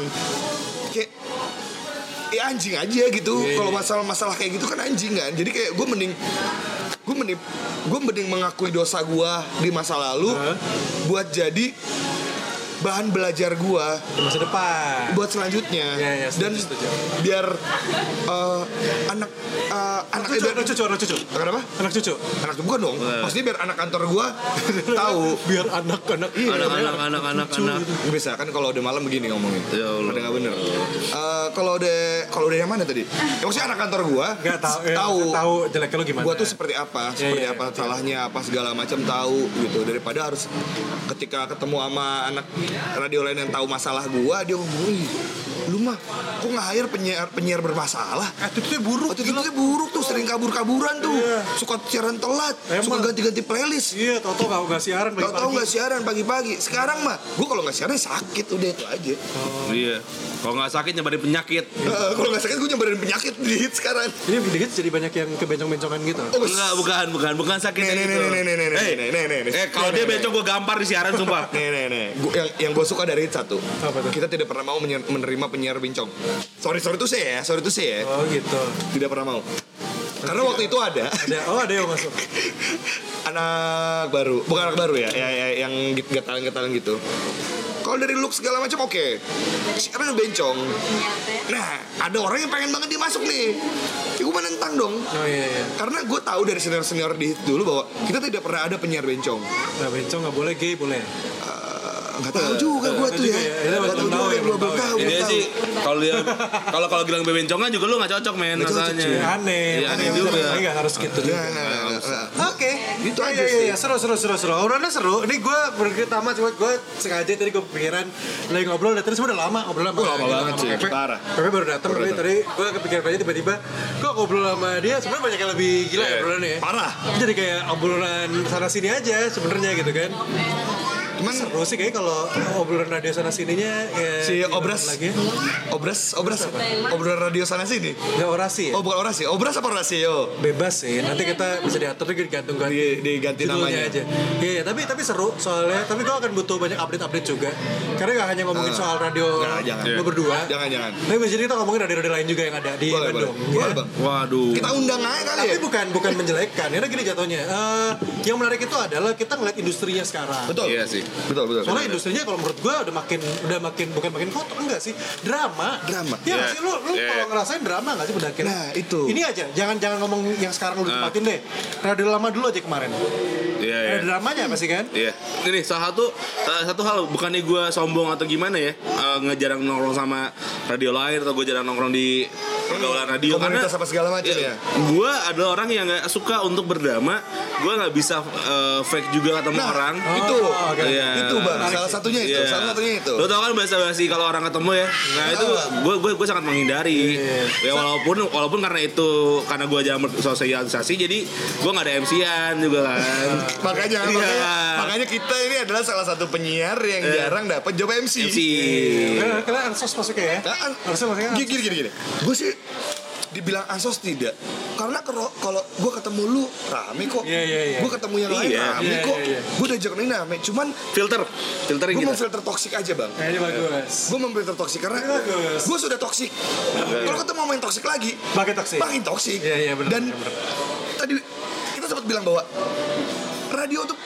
kayak ya anjing aja gitu
Iya, iya.
kalau masalah masalah kayak gitu kan anjing kan jadi kayak gue mending gue mending gue mending mengakui dosa gue di masa lalu
Hah?
buat jadi bahan belajar gua
di masa depan
buat selanjutnya
Ya, ya, setuju,
dan
setuju.
biar eh, anak eh, anak eh,
cucu
biar
anak cucu anak cucu
kenapa
anak cucu
anak bukan dong maksudnya biar anak kantor gua (laughs) tahu
(laughs) biar anak-anak iya,
Anak-anak, anak-anak,
cucu
anak.
gitu.
(laughs) misalkan kalau udah malam begini ngomongin
Ya Allah.
udah nggak bener Eh, kalau udah kalau udah yang mana tadi ya, maksudnya anak kantor gua
nggak tahu ya,
tahu
tahu jeleknya lo gimana
gua tuh seperti
Iya,
apa seperti
iya,
apa
iya.
salahnya apa segala macam tahu gitu daripada harus ketika ketemu sama anak radio lain yang tahu masalah gua dia ngomong "Ih, lu mah kok nggak hire penyiar penyiar bermasalah
attitude buruk
Waktu itu dia buruk tuh sering kabur-kaburan tuh
Iya.
suka siaran telat suka
Emang.
ganti-ganti playlist
iya tau tau gak, gak siaran
Tau tau
pagi-pagi.
nggak siaran pagi-pagi sekarang mah gua kalau nggak siaran sakit udah itu aja
Iya. Kalau nggak sakit nyebarin penyakit.
Eh, kalau nggak sakit gue nyebarin penyakit di hit sekarang
ini dikit jadi banyak yang kebencong-bencongan gitu
oh,
Enggak, bukan, bukan, bukan sakit
Nih, nih,
kayak
nih,
gitu.
nih, nih, nih, nih,
Eh,
nih, nih, nih, nih.
Eh, kalau dia
Nih, nih,
becok gue gampar di siaran sumpah.
Nih nih nih, Gua- yang yang gue suka dari hit satu,
Apa tuh?
kita tidak pernah mau menyer- menerima penyiar bincang. Sorry sorry tuh saya ya, sorry tuh saya ya,
oh gitu
tidak pernah mau. Karena waktu itu ada
ada oh ada yang masuk
anak baru, bukan anak baru ya, ya, ya yang getalan-getalan gitu. Kalau dari look segala macam oke, sekarang bencong. Nah ada orang yang pengen banget dia masuk nih, ya gue menentang dong.
Nah,
oh iya iya
Karena gue tahu dari senior-senior di hit dulu bahwa kita tidak pernah ada penyiar bencong.
nah bencong gak boleh gay boleh
Eh, Nggak tahu juga gue
nggak
tuh
juga
ya,
ya. Itu
nggak tahu
belum tahu ya,
juga gue
belum tahu
belum
ya.
tahu.
Ini
belum
dia
tahu.
sih kalau dia kalau kalau bilang bebencongan juga lu nggak cocok men
Nggak cocok,
rasanya.
cuy.
aneh
Iya, aneh
aneh
juga.
Tapi nggak harus gitu
Nggak,
juga
nggak, nggak, nggak, nggak.
Oke,
Gitu
Iya,
aja
iya,
sih.
iya. seru seru seru seru. Obrolannya seru. Ini gue pertama cuma gue sengaja tadi gue pikiran lagi ngobrol dan terus udah lama ngobrol lama.
Wah, lama banget sih, parah.
Pepe baru datang tadi tadi gue kepikiran aja tiba-tiba kok ngobrol sama dia sebenarnya banyak yang lebih gila ya obrolannya. ya.
Iya, Parah.
Jadi kayak obrolan sana sini aja sebenarnya gitu kan.
Cuman
Seru sih kayak kalau obrolan radio sana sininya eh,
Si
gimana
Obras.
lagi.
obras obras obrolan radio sana sini.
Ya orasi ya.
Oh bukan orasi, obras apa orasi yo?
bebas sih nanti kita bisa diatur lagi digantung kan
Di- diganti namanya.
aja iya iya, tapi tapi seru soalnya tapi gue akan butuh banyak update update juga karena gak hanya ngomongin
Ah.
soal radio
Jangan, jangan. Iya.
lo berdua
Jangan jangan.
tapi bisa jadi kita ngomongin radio-radio lain juga yang ada di
Boleh boleh.
Bandung ya.
Boleh bang.
Waduh.
Kita undang aja kali ya.
tapi bukan bukan menjelekkan karena gini jatuhnya eh, yang menarik itu adalah kita ngeliat industrinya sekarang
Betul.
Iya sih.
Betul betul.
Soalnya industrinya kalau menurut gue udah makin udah makin bukan makin kotor enggak sih drama
Drama.
ya nggak
Iya.
sih lu lu
Iya.
kalau ngerasain drama nggak sih pada akhirnya
Nah, itu.
ini aja jangan jangan ngomong yang sekarang lu tempatin deh radio lama dulu aja kemarin
Nah. Iya, iya.
ada dramanya pasti kan
Iya. Ini salah satu salah satu hal bukannya gue sombong atau gimana ya eh, ngejarang nongkrong sama radio lain atau gue jarang nongkrong di pergaulan radio
Komunitas
karena
apa segala macam ya.
gue adalah orang yang nggak suka untuk berdama gue nggak bisa eh, fake juga ketemu
Nah,
orang
itu.
Oh, oke.
Iya.
Itu bang, salah satunya itu,
Iya.
salah satunya Gitu, itu.
Lo tau kan bahasa basi kalau orang ketemu ya. Nah itu
Tahu. Iya,
gue gue gue sangat menghindari. Ya walaupun walaupun karena itu karena gue jarang bersosialisasi jadi gue nggak ada MC-an juga kan.
(laughs) Makanya,
Iya.
makanya, makanya kita ini adalah salah satu penyiar yang
Iya.
jarang dapat job MC.
MC.
iya,
Iya.
karena karena ansos masuknya ya
Nah,
harusnya masuknya
gini gini gini, Gue sih dibilang ansos tidak. Karena kero- kalau gue ketemu lu rame kok.
Iya, iya, iya.
Gue ketemu yang lain
Iya,
rame
iya,
kok.
iya, iya.
Gue udah ini rame. Cuman
Filter, filtering
gue
kita.
mau filter toksik aja bang.
kayaknya Nah, bagus
Gue memfilter toksik karena
Iya, Bagus.
gue sudah toksik. Kalau ketemu main toksik lagi,
Makin toksik.
makin toksik.
Iya, iya, benar,
Dan
benar,
tadi kita sempat bilang bahwa radio tuh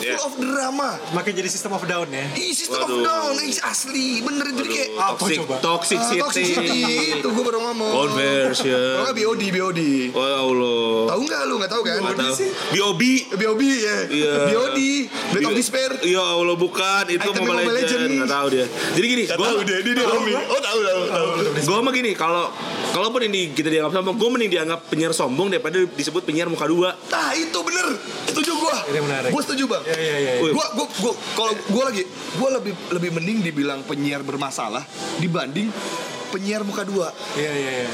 full
Iya.
of drama.
makin jadi sistem of down ya
Ih, system
Waduh.
of down, ih, asli, bener jadi kayak
Aduh,
apa
toxic,
coba?
toxic
Ah,
city.
toxic city. itu gue baru ngomong. Kalau
Conversion.
nggak BOD, BOD.
Oh ya Allah.
Tahu nggak lu? Nggak tahu kan?
Nggak tahu.
sih?
BOB.
BOB ya.
Iya.
BOD. Blade of Despair.
Ya Allah bukan, itu
Item
Mobile,
Mobile
Legend.
Legend.
Nggak tahu dia. Jadi gini,
Nggak
gua-
tahu dia, dia dia homi. Oh tahu tahu tahu.
gue mah gini kalau kalaupun ini kita dianggap sombong gue mending dianggap penyiar sombong daripada disebut penyiar muka dua
Nah itu bener. Setuju gua.
Ini menarik.
Gua setuju bang.
Iya, iya, iya, iya.
Gua gua gua kalau gua lagi gua lebih lebih mending dibilang penyiar bermasalah dibanding penyiar muka dua.
iya iya iya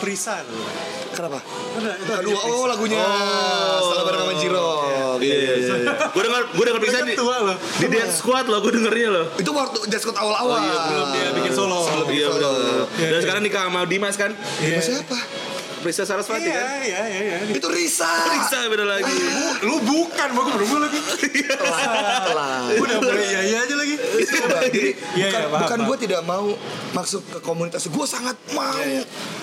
Prisa tuh.
Kenapa?
Ada, itu
Muka
ada
dua.
Prisa.
Oh lagunya. Setelah bareng sama Jiro.
iya iya iya gue dengar gue dengar
Mereka
bisa di,
tua loh
di Dead Squad loh gue dengernya loh
Itu waktu jaskot awal-awal.
Oh, iya, belum dia bikin solo.
Sebelum bikin
iya
solo.
benar
Oh, Iya,
dan
iya.
sekarang nikah sama Dimas kan
Iya.
Sama siapa?
Prisa Sarasvati
iya
kan
iya iya iya
Itu Risa.
Prisa beda lagi Iya.
lu bukan mau gue belum lagi Gua udah boleh iya iya aja lagi
Jadi
Iya, iya,
bukan,
paham,
bukan
paham.
gue tidak mau masuk ke komunitas. Gue sangat mau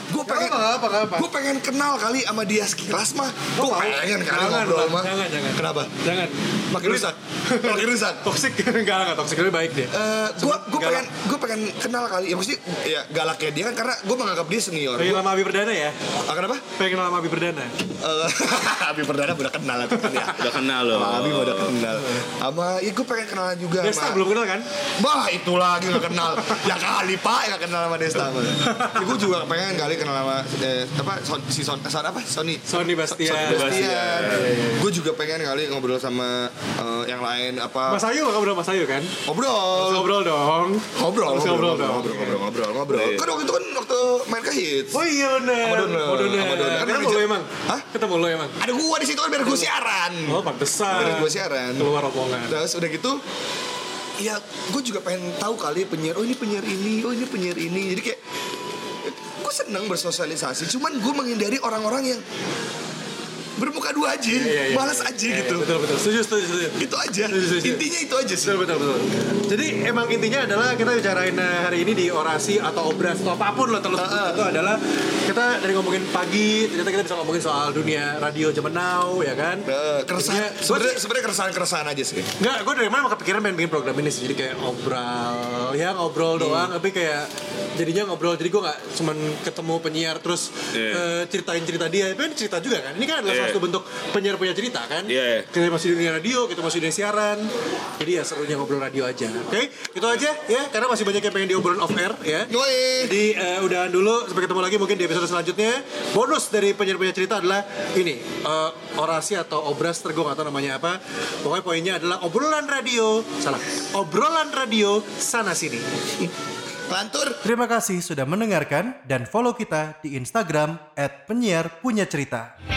gue pengen
iya. apa, nggak apa, nggak apa. Oh,
gue pengen kenal kali sama dia sekilas mah gue
mau?
pengen kali
Jangan,
ngobrol
Bang.
mah
Jangan, jangan.
kenapa
Jangan.
makin rusak makin rusak
Toxic (laughs) enggak enggak toxic lebih baik dia.
Eh, gue gue
galak.
pengen gue pengen kenal kali ya maksudnya ya galaknya dia kan karena gue menganggap dia senior
Pengen
Gua-
lama Abi Perdana ya?
ah, kenapa
Pengen kenal sama Abi Perdana.
Eh, (laughs) Abi Perdana udah kenal itu kan ya
(laughs)
Udah kenal loh.
sama Abi udah kenal sama ya gue pengen kenalan juga
Desta
sama-
belum kenal kan?
Bah itu lagi gak kenal Ya kali pak gak kenal sama Desta ya, Gue juga pengen kali kenal sama eh, apa, Son, Si Son, eh, Son apa? Sony
Sony Bastian. Iya,
Bastian Gue juga pengen kali ngobrol sama eh, yang lain apa
Mas Ayu nggak ngobrol Mas Ayu kan? Harus
Ngobrol
Ngobrol dong.
Ngobrol
Harus ngobrol dong.
ngobrol ngobrol ngobrol ngobrol
Iya.
Kan waktu itu kan waktu main ke hits
Oh iya benar.
Sama Donar.
Oh Donar.
Sama Donar. Kan
Ketemu lo
udah di-
emang?
Hah?
Ketemu lo emang?
Ada gua di situ kan biar gue siaran
Oh pantesan.
Biar gue siaran
Keluar rombongan.
Terus udah gitu Ya gue juga pengen tahu kali penyiar Oh ini penyiar ini Oh ini penyiar ini Jadi kayak Gue seneng bersosialisasi Cuman gue menghindari orang-orang yang Bermuka dua aja
Iya, iya,
Balas
iya.
aja
Iya, iya,
gitu
Betul betul. Setuju setuju setuju.
Itu aja
Setuju, setuju, setuju.
Intinya itu aja sih
Betul betul betul. Jadi emang intinya adalah kita bicarain eh, hari ini di orasi atau obras atau apapun lo terus itu adalah kita dari ngomongin pagi ternyata kita bisa ngomongin soal dunia radio zaman now ya kan.
Nah, keresahan
Intinya, gua
sebenarnya sebenarnya keresahan keresahan aja sih
Enggak, gue dari mana emang kepikiran pengen bikin program ini sih Jadi kayak ngobrol, ya ngobrol
Hmm.
doang Tapi kayak jadinya ngobrol Jadi gue gak cuman ketemu penyiar Terus
Iya.
eh, ceritain cerita dia Tapi kan cerita juga kan Ini kan adalah
Iya.
salah satu bentuk penyiar punya cerita kan
Iya, iya.
Kita masih di dunia radio, kita masih di dunia siaran Jadi ya serunya ngobrol radio aja Oke, itu aja ya Karena masih banyak yang pengen diobrolin off air ya
Yoi
jadi eh, udahan dulu sampai ketemu lagi mungkin di episode selanjutnya. Bonus dari penyiar-penyiar cerita adalah ini eh, orasi atau obras tergong atau namanya apa. Pokoknya poinnya adalah obrolan radio salah obrolan radio sana sini.
Lantur
Terima kasih sudah mendengarkan dan follow kita di Instagram @penyiar punya cerita.